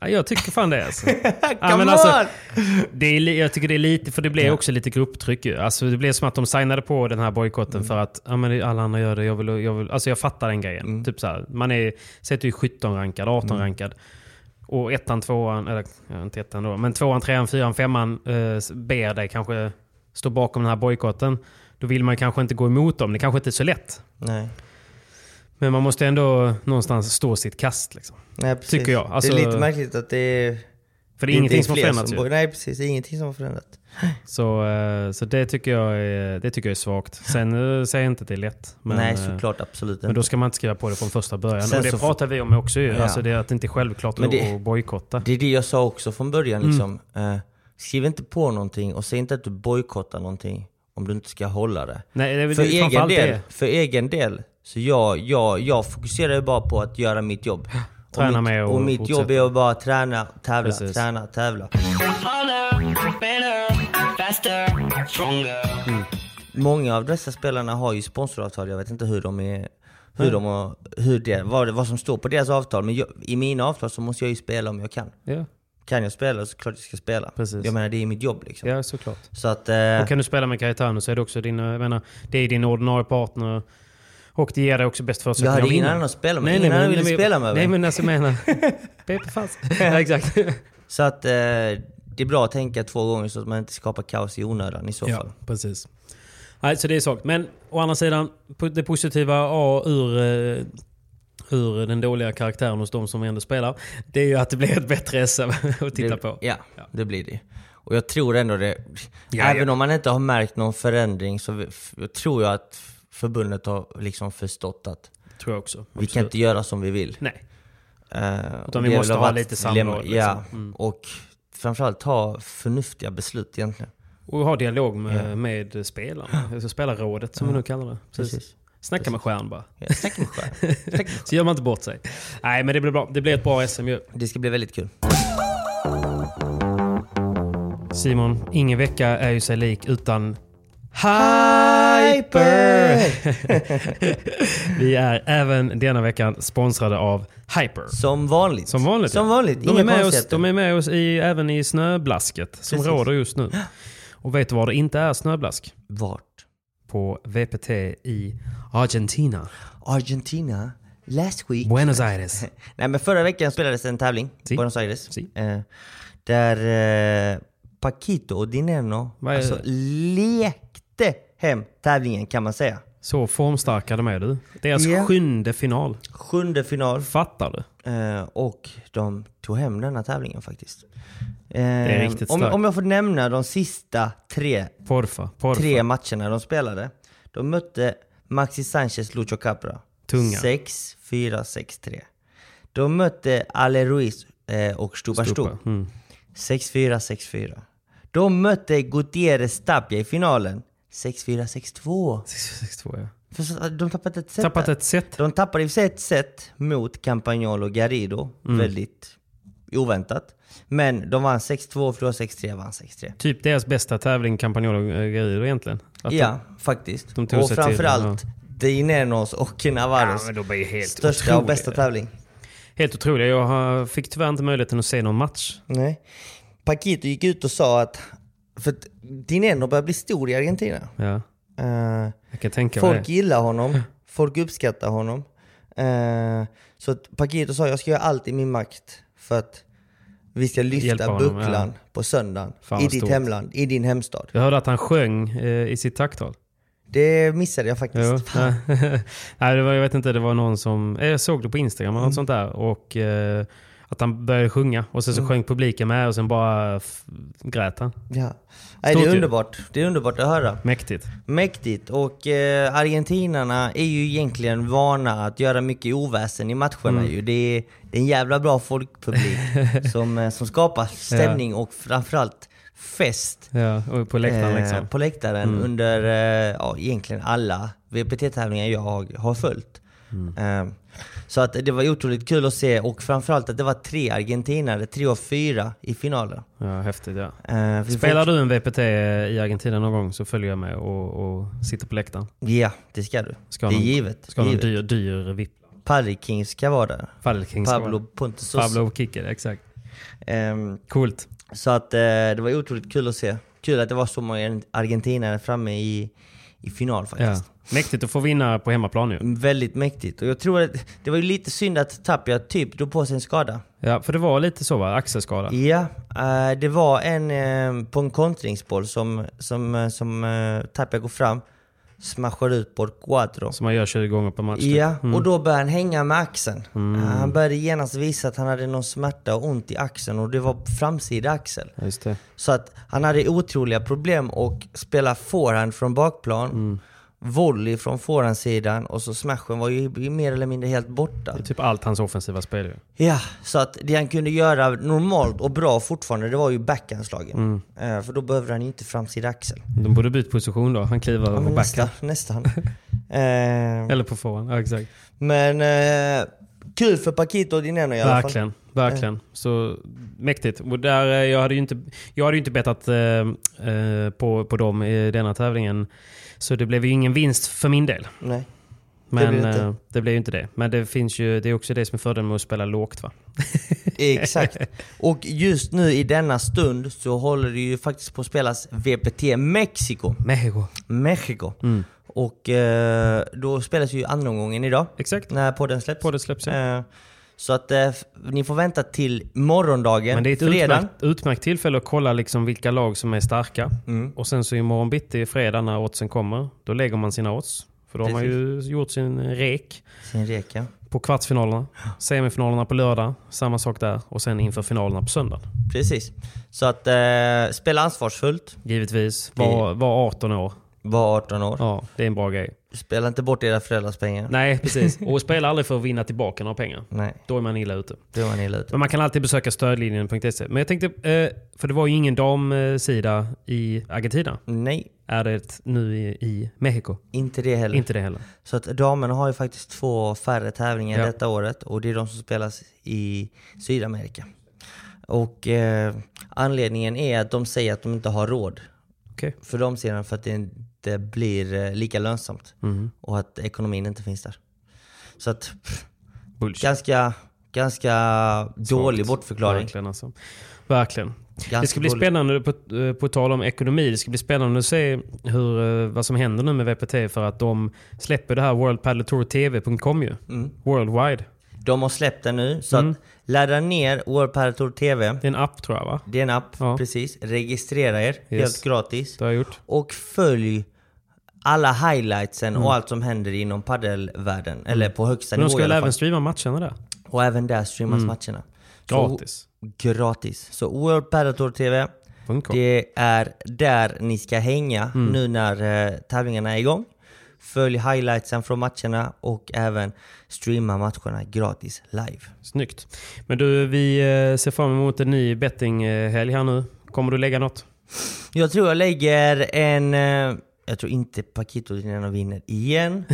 Ja, jag tycker fan det alltså.
Come
ja, men alltså
on!
det är, li- jag tycker det är lite, för det blev också lite grupptryck ju. Alltså, det blev som att de signade på den här bojkotten för att ja, men det- alla andra gör det. Jag, vill, jag, vill, alltså, jag fattar den grejen. Typ så här, man är, säg att du är 17-rankad, 18-rankad. Och ettan, tvåan, eller ja, inte ettan då, men tvåan, trean, fyran, femman eh, s- ber dig kanske stå bakom den här bojkotten. Då vill man ju kanske inte gå emot dem. Det kanske inte är så lätt.
Nej.
Men man måste ändå någonstans stå sitt kast. Liksom.
Nej, precis.
Tycker jag. Alltså-
det är lite märkligt att det är...
För det är ingenting som har
fler
förändrats ju.
bor- Nej precis, det är ingenting som har förändrats.
Så, eh, så det, tycker jag är, det tycker jag är svagt. Sen eh, säger jag inte att det är lätt. Men,
Nej
eh,
såklart, absolut
Men då ska man inte skriva på det från första början.
Sen
och det
så-
pratar vi om också ju.
Ja.
Alltså det är att det inte är självklart
Men
att-
det-
att bojkotta.
Det är det jag sa också från början
Mm.
liksom. Eh, skriv inte på någonting och säg inte att du bojkottar någonting om du inte ska hålla det.
Nej, det är väl
för,
det-
egen
framförallt
del,
det.
för egen del, så jag, jag, jag fokuserar ju bara på att göra mitt jobb.
Träna
och mitt,
med och
och mitt
fortsätta.
jobb är att bara träna, tävla,
Precis.
träna, tävla. Mm. Många av dessa spelarna har ju sponsoravtal, jag vet inte hur de är hur de har, hur det, vad, det- vad som står på deras avtal. Men jag, i mina avtal så måste jag ju spela om jag kan.
Ja,
Kan jag spela så klart jag ska spela.
Precis.
Jag menar det är mitt jobb liksom.
ja, såklart.
Så att... Eh,
Och kan du spela med Caetano så är det också din, jag menar, det är din ordinarie partner. Och det ger dig också bäst
jag
förutsättningar
hade
att
ingen
vinna.
annan att spela med. Ingen annan ville
men-
spela
Nej
med mig.
men alltså jag menar... Pepe Fals. Ja, exakt.
Så att eh, det är bra att tänka två gånger så att man inte skapar kaos i onödan i så
Ja,
fall.
precis. Nej, så det är svagt. Men å andra sidan, po- det positiva A ur, eh, ur den dåliga karaktären hos de som ändå spelar, det är ju att det blir ett bättre SM att titta
det,
på.
Ja, det blir det. Och jag tror ändå det.
Ja,
även om man inte har märkt någon förändring så vi- f- jag tror jag att förbundet har liksom förstått att
Tror jag också.
vi kan inte göra som vi vill.
Nej.
Eh, och
Utan vi
det är
måste
väl
ha
att
lite
lämna-
samråd, liksom.
Ja, och framförallt ta förnuftiga beslut egentligen.
Och ha dialog med, med spelarna. Alltså spelarrådet som vi nu kallar det. Precis.
Precis.
Snacka med stjärn bara.
Ja, snacka med skär. Snacka med skär.
Så gör man inte bort sig. Nej, men det blir bra. Det blir ett bra SM ju.
Det ska bli väldigt kul.
Simon, ingen vecka är ju sig lik utan Hyper! Vi är även denna veckan sponsrade av Hyper.
Som vanligt.
Som vanligt.
Som vanligt.
De är,
Inga
med oss,
konstigheter.
de är med oss i, även i snöblasket som
Precis.
råder just nu. Och vet du var det inte är snöblask?
Vart?
På VPT i Argentina.
Argentina. Last week.
Buenos Aires.
Nej men förra veckan spelades en tävling
Si.
i Buenos Aires.
Si.
Eh, där eh, Paquito och Dineno
Vad är
alltså,
det?
lekte hem tävlingen kan man säga.
Så formstarka de är du. Deras
Ja.
sjunde final.
Sjunde final
Fattar du?
eh, och de tog hem denna tävlingen faktiskt. det
är riktigt
om,
starkt.
om jag får nämna de sista tre,
Porfa, porfa.
tre matcherna de spelade. De mötte Maxi Sanchez Lucho Capra.
Tunga.
6-4, 6-3. De mötte Ale Ruiz eh, och Stupa Stupa.
Stupa. Mm.
6-4, 6-4. De mötte Gutierrez Tapia i finalen. 6-4, 6-2.
6-2 ja.
För så- De tappade ett set.
Tappat
där.
ett set.
De tappade i och för sig ett set mot Campagnolo och Garrido.
Mm.
Väldigt oväntat. Men de vann 6-2, förlorade 6-3, vann 6-3.
Typ deras bästa tävling, Campagnolo Guerrero egentligen. Att
ja, faktiskt.
de tog
och
sig till den,
framförallt Dinenos och Navarros
men de är ju helt
största och
otroliga.
bästa tävling.
Helt otroliga. Jag har- fick tyvärr inte möjligheten att se någon match.
Nej. Paquito gick ut och sa att... För att Dineno börjar bli stor i Argentina.
Ja,
Eh,
jag kan tänka mig
Folk
det.
gillar honom, folk uppskattar honom. Eh, så att Paquito sa jag ska göra allt i min makt för att vi ska
Hjälpa
lyfta
honom,
bucklan på söndagen
Fan,
i
vad
ditt
stort.
hemland, i din hemstad.
Jag hörde att han sjöng eh, i sitt tacktal.
Det missade jag faktiskt.
Jo.
Fan.
Nej, det var, jag vet inte, det var någon som... eh, Jag såg det på Instagram eller något sånt där. Och eh, att han började sjunga. Och sen så sjöng publiken med och sen bara f- grät han.
Ja. Nej,
Stort
det
ju.
är underbart. Det är underbart att höra.
Mäktigt.
Mäktigt. Och eh, argentinarna är ju egentligen vana att göra mycket oväsen i matcherna.
Mm.
Ju. Det, är, det är en jävla bra folkpublik som, eh, som skapar stämning och framförallt fest
Ja, och på läktaren
eh,
liksom.
på läktaren under eh, ja, egentligen alla VPT-tävlingar jag har följt.
Mm.
Eh, så att det var otroligt kul att se och framförallt att det var tre argentinare, tre av fyra i finalen.
Ja, häftigt ja.
Eh, vi
Spelar
får-
du en VPT i Argentina någon gång så följer jag med och, och sitter på läktaren.
Ja, det ska du.
Ska
det är
någon- typ-
givet.
Ska ha en
givet.
dyr, dyr VIP.
Paddy King ska vara där.
Falking ska
Pablo
vara-
Pontus.
Pablo och Kikki, exakt.
Ehm,
Coolt.
så att eh, det var otroligt kul att se. Kul att det var så många argentinare framme i, i final faktiskt.
Ja. Mäktigt att få vinna på hemmaplan nu.
Väldigt mäktigt. Och jag tror att det var ju lite synd att Tapia typ drog på sig en skada.
Ja, för det var lite så va? Axelskada.
Ja, eh, det var en eh, på en kontringsboll som, som, eh, som eh, Tapia går fram, smashar ut på Cuatro.
Som Mm. man gör 20 gånger per match. typ.
Ja, och då började han hänga med axeln.
Mm.
Eh, Han började genast visa att han hade någon smärta och ont i axeln och det var framsida axel.
Ja, Just det.
Så att han hade otroliga problem och spela forehand från bakplan, volley från forehandsidan och så smashen var ju mer eller mindre helt borta.
Det är typ allt hans offensiva spel ju.
Ja, så att det han kunde göra normalt och bra fortfarande, det var ju backhandslagen. Eh, för då behövde han ju inte framsida axel.
De borde byta position då. Han kliver
Ja,
över
men
på
nästan.
backhand.
nästan. Eh,
Eller på forehand. Ja, exakt.
men eh, kul för Paquito och Dineno i alla fall.
Verkligen, verkligen. Så mäktigt. Och där, eh, jag, hade ju inte, jag hade ju inte bettat eh, eh, på, på dem i denna tävlingen. Så det blev ju ingen vinst för min del.
Nej.
Men
blev det
det,
inte.
eh, det blev ju inte det. Men det, finns ju, det är också det som är fördelen med att spela lågt va?
Exakt. Och just nu i denna stund så håller det ju faktiskt på att spelas VPT Mexiko.
Mexiko.
Mexiko.
Mm.
Och eh, då spelas ju andra omgången idag.
Exakt.
När podden släpps.
På det släpps ja.
Eh, Så att eh, f- ni får vänta till morgondagen,
Men det är ett
fredag.
utmärkt, utmärkt tillfälle att kolla liksom vilka lag som är starka. Och sen så imorgon bitti, fredag när oddsen kommer, då lägger man sina odds. För då har man ju gjort sin rek.
Sin reka.
på kvartsfinalerna, semifinalerna på lördag, samma sak där och sen inför finalerna på söndag.
Precis. Så att eh, spela ansvarsfullt.
Givetvis, var, var 18 år.
Var 18 år.
Ja, det är en bra grej.
Spela inte bort era föräldrars pengar.
Nej, precis. Och spela aldrig för att vinna tillbaka några pengar.
Nej,
Då är man illa ute.
det var ni illa ute.
Men man kan alltid besöka stödlinjen.se. Men jag tänkte, eh, för det var ju ingen damsida i Argentina.
Nej,
Är det nu i, i Mexiko?
inte det heller.
Inte det heller.
Så att damerna har ju faktiskt två färre tävlingar
Ja.
detta året och det är de som spelas i Sydamerika. Och eh, anledningen är att de säger att de inte har råd
Okej.
för de serierna för att det inte blir eh, lika lönsamt
Mm.
och att ekonomin inte finns där. Så att pff,
Bullshit.
ganska, ganska dålig bortförklaring.
Verkligen alltså. Verkligen.
Ganska
det ska bli
dålig.
spännande, på, eh, på tal om ekonomi, det ska bli spännande att se hur, eh, vad som händer nu med VPT för att de släpper det här World Padel Tour TV.com ju.
Mm.
Worldwide.
De har släppt den nu, så
Mm.
att ladda ner World Padel Tour TV.
Det är en app tror jag va?
Det är en app,
Ja.
precis. Registrera er, helt gratis.
Det har jag gjort.
och följ alla highlightsen och allt som händer inom paddelvärlden. Eller på högsta
Mm. Men de
nivå
ska
i
väl
alla
även
fall.
streama matcherna där?
Och även där streamas matcherna. Så-
Gratis.
gratis. Så World Padel Tour TV,
Punkt com.
det är där ni ska hänga
Mm.
nu när eh, tävlingarna är igång. Följ highlightsen från matcherna och även streama matcherna gratis live.
Snyggt. Men du, vi eh, ser fram emot en ny bettinghelg här nu. Kommer du lägga något?
Jag tror jag lägger en... eh, Jag tror inte Paquito Dineno vinner igen.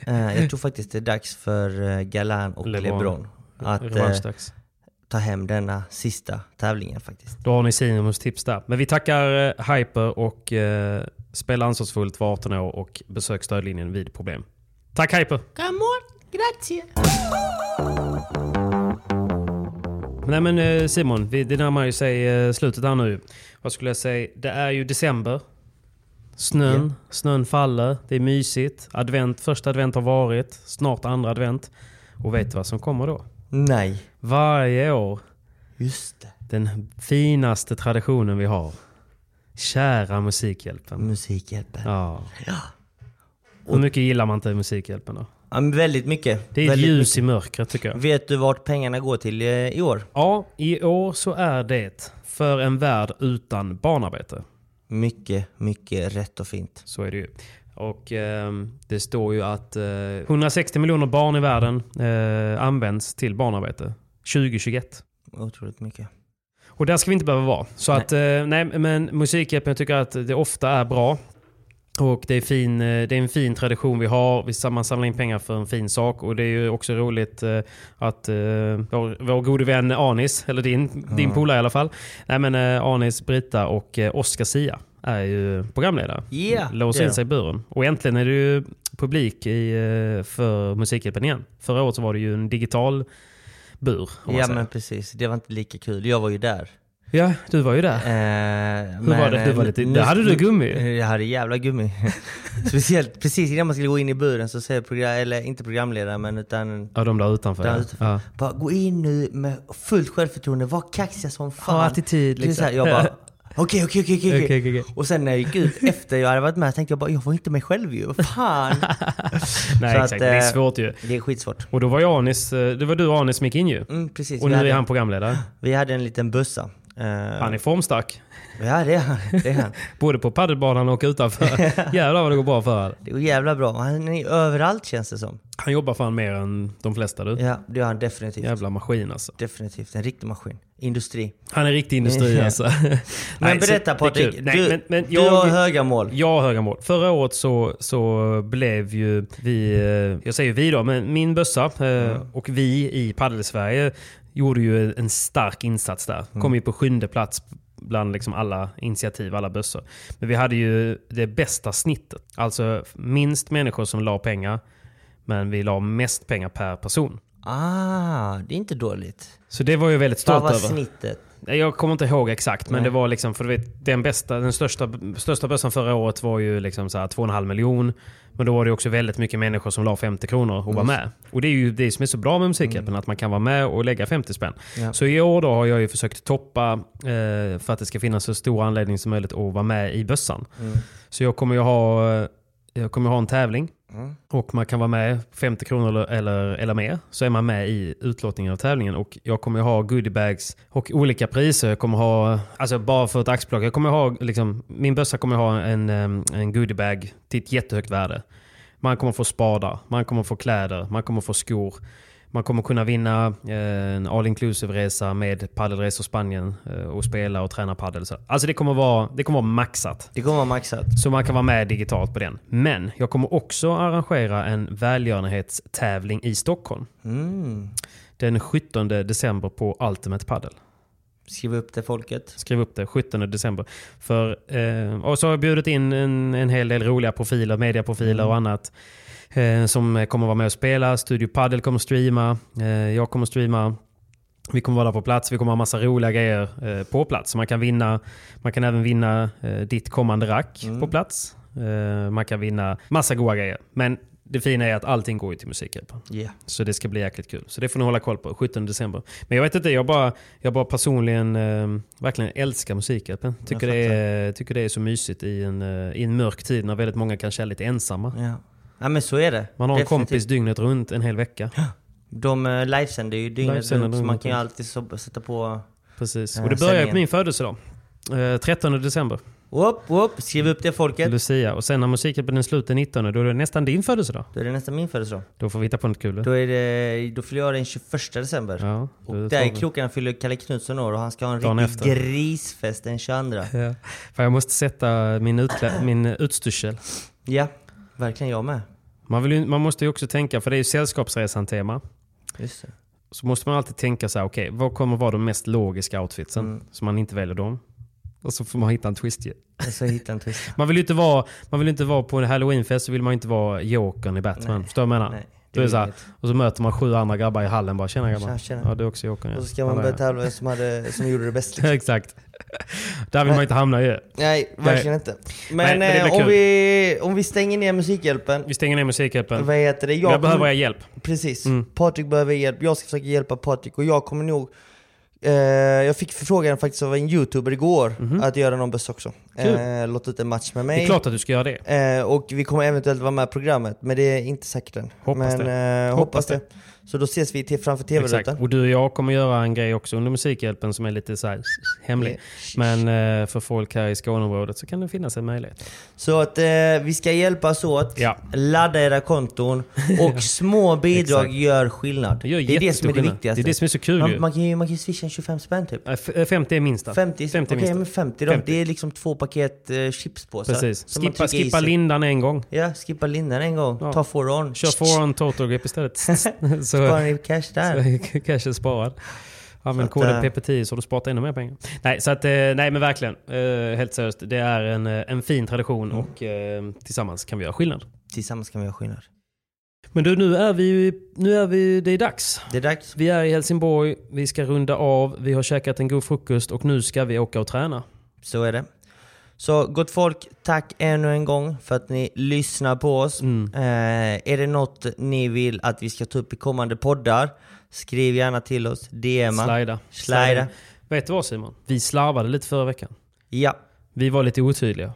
Eh, Jag tror faktiskt det är dags för eh, Galan och
LeBron.
LeBron, att eh,
Revanschdags.
ta hem denna sista tävlingen faktiskt.
Då har ni Sinemos tips där. Men vi tackar eh, Hyper och eh, spela ansvarsfullt, var 18 år och besök stödlinjen vid problem. Tack Hyper! Nej men eh, Simon, vi, det närmar ju sig eh, slutet här nu. Vad skulle jag säga? Det är ju december. Snön, snön faller, det är mysigt. Advent, första advent har varit, snart andra advent. Och vet du vad som kommer då?
Nej,
Varje år
just det.
den finaste traditionen vi har. Kära Musikhjälpen.
Musikhjälpen. Mm. Ja.
Ja. Hur mycket gillar man inte Musikhjälpen då?
men väldigt mycket.
Det är ett
väldigt
ljus i mörkret tycker jag.
mycket. Vet du vart pengarna går till eh, i år?
Ja, i år så är det För en värld utan barnarbete.
Mycket, mycket rätt och fint.
Så är det ju. Och ehm, det står ju att eh, 160 miljoner barn i världen eh, används till barnarbete 2021.
Otroligt mycket.
Och där ska vi inte behöva vara. Så att, eh, nej, men Musikhjälpen jag tycker att det ofta är bra. Och det är, fin, eh, det är en fin tradition vi har. Vi sam- man samlar in pengar för en fin sak. Och det är ju också roligt eh, att eh, vår, vår gode vän Anis, eller din, din polare i alla fall. Nej men eh, Anis, Brita och eh, Oscar Sia är ju programledare.
Yeah,
Låser
det är
in sig i buren. Och äntligen är det ju publik i, eh, för Musikhjälpen igen. Förra året så var det ju en digital bur. Om man
Ja
säger.
men precis, det var inte lika kul. Jag var ju där.
ja, du var ju där.
Eh, Hur
var det? Du
eh,
var lite- där hade du gummi.
Jag hade jävla gummi. Speciellt precis innan man skulle gå in i buren så säger program, eller inte programledaren men utan
Ja, de där utanför.
där
ja.
utanför.
Ja.
Bara gå in nu med fullt självförtroende, var kaxiga som fan.
attityd,
Det är
liksom.
så här, jag bara Okej, okej, okej, okej,
Okej,
okej.
okej, okej.
Och sen när jag gick ut efter jag hade varit med tänkte jag bara, jag var inte mig själv ju. Vad Fan.
Nej,
Så
exakt. det är
eh,
svårt ju.
Det är skitsvårt.
Och då var ju Anis, eh, det var du och Anis som gick in ju.
Mm, precis.
och
vi,
nu
hade,
är han programledare.
vi hade en liten bussa. Eh,
Han är formstark.
Ja, det är han. Det är han.
Både på padelbanan och utanför. Jävlar vad det går bra för honom.
Det går jävla bra. Han är överallt känns det som.
Han jobbar fan mer än de flesta du.
Ja, det gör han definitivt.
Jävla maskin alltså.
Definitivt. En riktig maskin. Industri.
Han är riktig industri alltså. Nej,
Men
så- det
berätta
är
Patrik.
kul.
Du,
Nej, men, men
du
jag,
har höga mål.
Jag har höga mål. Förra året så, så blev ju vi, eh, jag säger vi då, men min bössa eh, och vi i Padelsverige gjorde ju en stark insats där. Kom ju på sjunde plats bland liksom alla initiativ, alla bössor. Men vi hade ju det bästa snittet. Alltså minst människor som la pengar, men vi la mest pengar per person.
Ah, det är inte dåligt.
Så det var jag väldigt
Vad
stolt
var
över.
snittet?
Nej, Jag kommer inte ihåg exakt, men det var liksom, för du vet, den bästa, den största, största bössan förra året var ju liksom så här 2,5 miljon. Men då var det också väldigt mycket människor som la 50 kronor och var med. Och det är ju det som är så bra med Musikhjälpen, att man kan vara med och lägga 50 spänn.
Ja.
Så i år då har jag ju försökt toppa eh, för att det ska finnas så stor anledning som möjligt att vara med i bössan. Så jag kommer ju ha, eh, jag kommer ha en tävling. Och man kan vara med 50 kronor eller, eller, eller mer. Så är man med i utlåtningen av tävlingen. Och jag kommer ha goodiebags och olika priser. Jag kommer ha, alltså bara för ett axplock. Jag kommer ha, liksom, min bössa kommer ha en, em, en goodiebag till ett jättehögt värde. Man kommer få spadar, man kommer få kläder, man kommer få skor. Man kommer kunna vinna eh, en all inclusive resa med Paddelresor Spanien eh, och spela och träna paddel. Så- Alltså det kommer vara, det kommer vara maxat.
Det kommer vara maxat.
Så man kan vara med digitalt på den. Men jag kommer också arrangera en välgörenhetstävling i Stockholm. Den 17 december på Ultimate Paddle.
Skriv upp det folket.
Skriv upp det, 17 december. För, eh, och så har jag bjudit in en, en hel del roliga profiler, mediaprofiler och annat. Eh, som kommer vara med och spela. Studio Paddle kommer streama. Eh, jag kommer streama. Vi kommer vara där på plats. Vi kommer ha massa roliga grejer eh, på plats. Så Man kan, vinna, man kan även vinna eh, ditt kommande rack på plats. Eh, man kan vinna massa goda grejer. Men det fina är att allting går ju till Musikhjälpen.
Ja.
Så det ska bli jäkligt kul. Så det får ni hålla koll på. 17 december. Men jag vet inte, jag bara, jag bara personligen eh, verkligen älskar Musikhjälpen. Tycker det, är, tycker det är så mysigt i en, eh, i en mörk tid när väldigt många kanske är lite ensamma.
Ja. ja, men så är det.
Man har en
Definitivt.
kompis dygnet runt en hel vecka.
De eh, livesänder ju dygnet
Livesänder
runt, så
dygnet
man kan ju
runt.
alltid so- sätta på...
Precis.
Ja,
Och det börjar ju
sändningen.
på min födelsedag. Eh, 13 december,
Upp, upp, skriv upp det folket.
Lucia. Och sen när Musikhjälpen är slut den 19, då är det nästan din födelsedag.
Då är det nästan min födelsedag.
Då får vi hitta på något kul.
Då, är det, då fyller jag den 21 december.
Ja,
och
det
där
tar
i
vi.
krokarna fyller Kalle Knutsson år och han ska ha
Dagen
en riktig
efter.
grisfest den 22.
Ja. Fan, jag måste sätta min, utklä- min utstyrsel.
Ja, verkligen jag med.
Man, vill ju, man måste ju också tänka, för det är ju sällskapsresan-tema.
Just det.
så måste man alltid tänka så här, okej, vad kommer vara de mest logiska outfitsen?
Mm.
Så man inte väljer dem. Och så får man hitta en twist ju.
Och så hittade jag en twist.
Man vill ju inte vara, man vill inte vara på en halloweenfest, så vill man ju inte vara jokern i Batman. Förstår du vad jag menar?
Nej,
Då är det
det vill
så
jag
här, och så möter man sju andra grabbar i hallen bara, tjena grabbar.
Tjena, tjena.
Ja, du är också jokern. ja.
Och så ska man
Ja,
börja
ja.
tävla vem som, hade, som gjorde det bäst. liksom.
Exakt. Där vill man inte hamna ju.
Nej, verkligen inte. Men,
men det blir
eh, om,
kul.
vi, om vi stänger ner Musikhjälpen.
Vi stänger ner musikhjälpen.
Vad heter det?
Jag,
kommer-
behöver er hjälp. Mm.
Precis. Patrik behöver hjälp. Jag ska försöka hjälpa Patrik och jag kommer nog... Eh, jag fick förfrågan faktiskt av en youtuber igår att göra någon buss också. Eh, låt ut en match med mig.
Mhm. Det är klart att du ska göra det.
Eh, och vi kommer eventuellt vara med i programmet, men det är inte säkert än.
Hoppas
men,
det.
Eh, hoppas,
Hoppas
det. Så då ses vi till framför
Exakt.
TV-rutan.
Och du och jag kommer göra en grej också under Musikhjälpen som är lite så här hemlig. Men eh, för folk här i Skåneområdet så kan det finnas en möjlighet.
Så att eh, vi ska hjälpas åt.
Ja.
Ladda era konton. Och små bidrag gör skillnad.
Det gör
det är det som
jättestor
är det
skillnad.
viktigaste.
Det är det som är så kul ju.
man, man kan ju man kan ju swisha en 25 spänn typ.
Nej, f- eh, 50 är minsta.
50,
50 är minsta.
okej, men 50 då.
50.
Det är liksom två paket eh, chipspåsar.
Precis.
som man
Skippa,
trycker i
skippa
sig.
lindan en gång.
Ja, skippa linden en gång.
Ja.
Ta four on.
Kör foreign total grip istället. så,
Bara
så
ni cash där.
kanske sparad. Använd
Så att,
koden
eh,
PP10 så har du sparat ännu mer pengar. Nej, så att, eh, nej men verkligen. Eh, Helt seriöst. Det är
Mm.
en, eh, en fin tradition och eh, tillsammans kan vi göra skillnad.
Tillsammans kan vi göra skillnad.
Men du, nu är vi ju, nu är vi, det är dags.
Det är dags.
Vi är i Helsingborg, vi ska runda av, vi har käkat en god frukost och nu ska vi åka och träna.
Så är det. Så gott folk, tack ännu en gång för att ni lyssnar på oss.
Mm.
Eh, är det något ni vill att vi ska ta upp i kommande poddar? Skriv gärna till oss. DMa.
Slida.
Slida.
Vet du vad Simon? Vi slarvade lite förra veckan.
Ja.
Vi var lite otydliga.
Eh.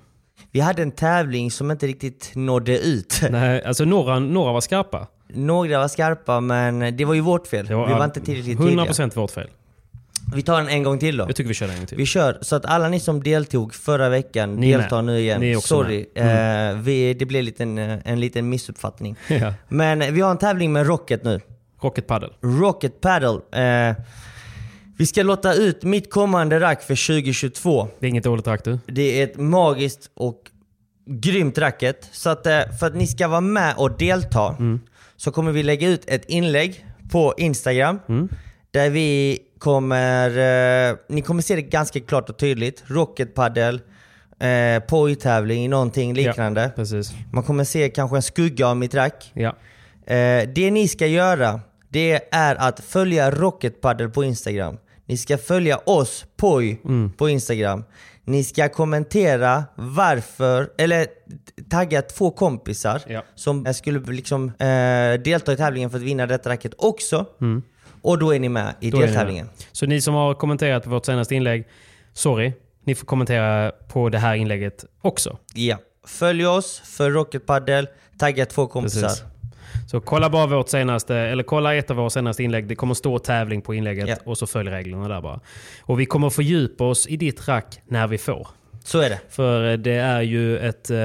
Vi hade en tävling som inte riktigt nådde ut.
Nej, alltså några, några var skarpa.
Några var skarpa men det var ju vårt fel.
Det
vi var inte tillräckligt
100%
tidiga.
vårt fel.
Vi tar den en gång till då.
Jag tycker vi kör en gång till.
Vi kör, så att alla ni som deltog förra veckan
Typ. Ni är
deltar
med.
nu igen.
Ni är också Mm.
Sorry, eh, vi, det blev en liten, eh, en liten missuppfattning.
Ja.
Men vi har en tävling med Rocket nu.
Rocket paddle.
Rocket Paddle. Eh, vi ska låta ut mitt kommande rack för 2022.
Det är inget dåligt rack du.
Det är ett magiskt och grymt racket. Så att, eh, för att ni ska vara med och delta
Mm.
så kommer vi lägga ut ett inlägg på Instagram
Mm.
där vi kommer, eh, ni kommer se det ganska klart och tydligt. Rocket paddle, eh, pojtävling, någonting liknande.
Ja, precis.
Man kommer se kanske en skugga av mitt rack.
Ja.
Eh, det ni ska göra, det är att följa Rocket Paddle på Instagram. Ni ska följa oss, POJ,
Mm.
på Instagram. Ni ska kommentera varför, eller tagga två kompisar
Ja.
som skulle liksom, eh, delta i tävlingen för att vinna detta racket också. Och då är ni med i
Mm. Då är ni med.
deltävlingen.
Så ni som har kommenterat på vårt senaste inlägg, sorry. Ni får kommentera på det här inlägget också.
Ja. Följ oss för Rocket Paddle, tagga två kompisar.
Precis. Så kolla bara vårt senaste, eller kolla ett av våra senaste inlägg. Det kommer stå tävling på inlägget
Ja.
och så följ reglerna där bara. Och vi kommer fördjupa oss i ditt rack när vi får.
Så är det.
För eh, det är ju ett... Eh,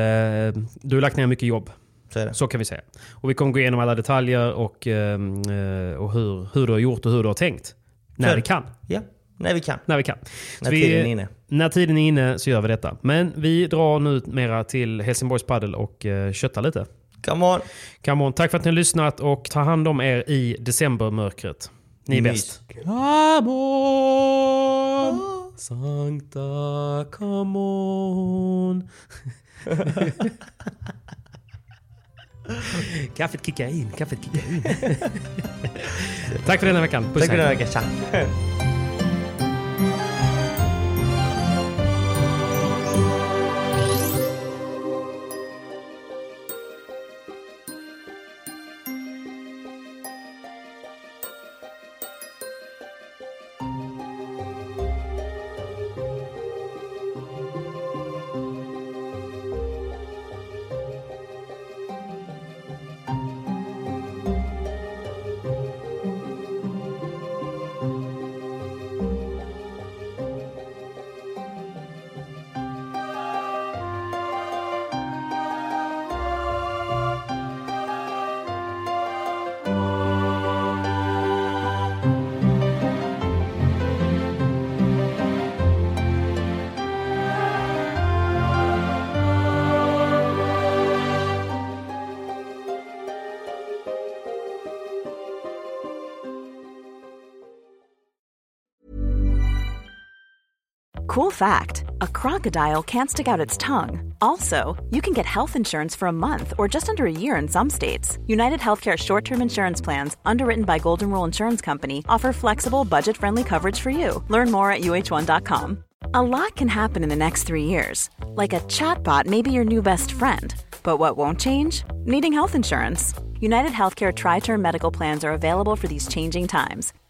du har lagt ner mycket jobb.
Så är det.
Så kan vi säga. Och vi kommer gå igenom alla detaljer och, ehm, eh, och hur, hur du har gjort och hur du har tänkt. När
Kör.
vi kan.
Ja, när vi kan.
När vi kan. Så
När
vi,
tiden är inne.
När tiden är inne så gör vi detta. Men vi drar nu mera till Helsingborgs Padel och eh, köttar lite.
Come on!
Come on. Tack för att ni har lyssnat och ta hand om er i decembermörkret. Ni är
Mys.
bäst. Come on, Sankta come on. kaffet kickar in, kaffet kickar in. Tack för denna veckan. Puss
Tack för
hej.
den här veckan. Tja.
Cool fact a crocodile can't stick out its tongue. Also, you can get health insurance for a month or just under a year in some states. United Healthcare short term insurance plans, underwritten by Golden Rule Insurance Company, offer flexible, budget friendly coverage for you. Learn more at uh1.com. A lot can happen in the next three years. Like a chatbot may be your new best friend. But what won't change? Needing health insurance. United Healthcare Tri Term Medical Plans are available for these changing times.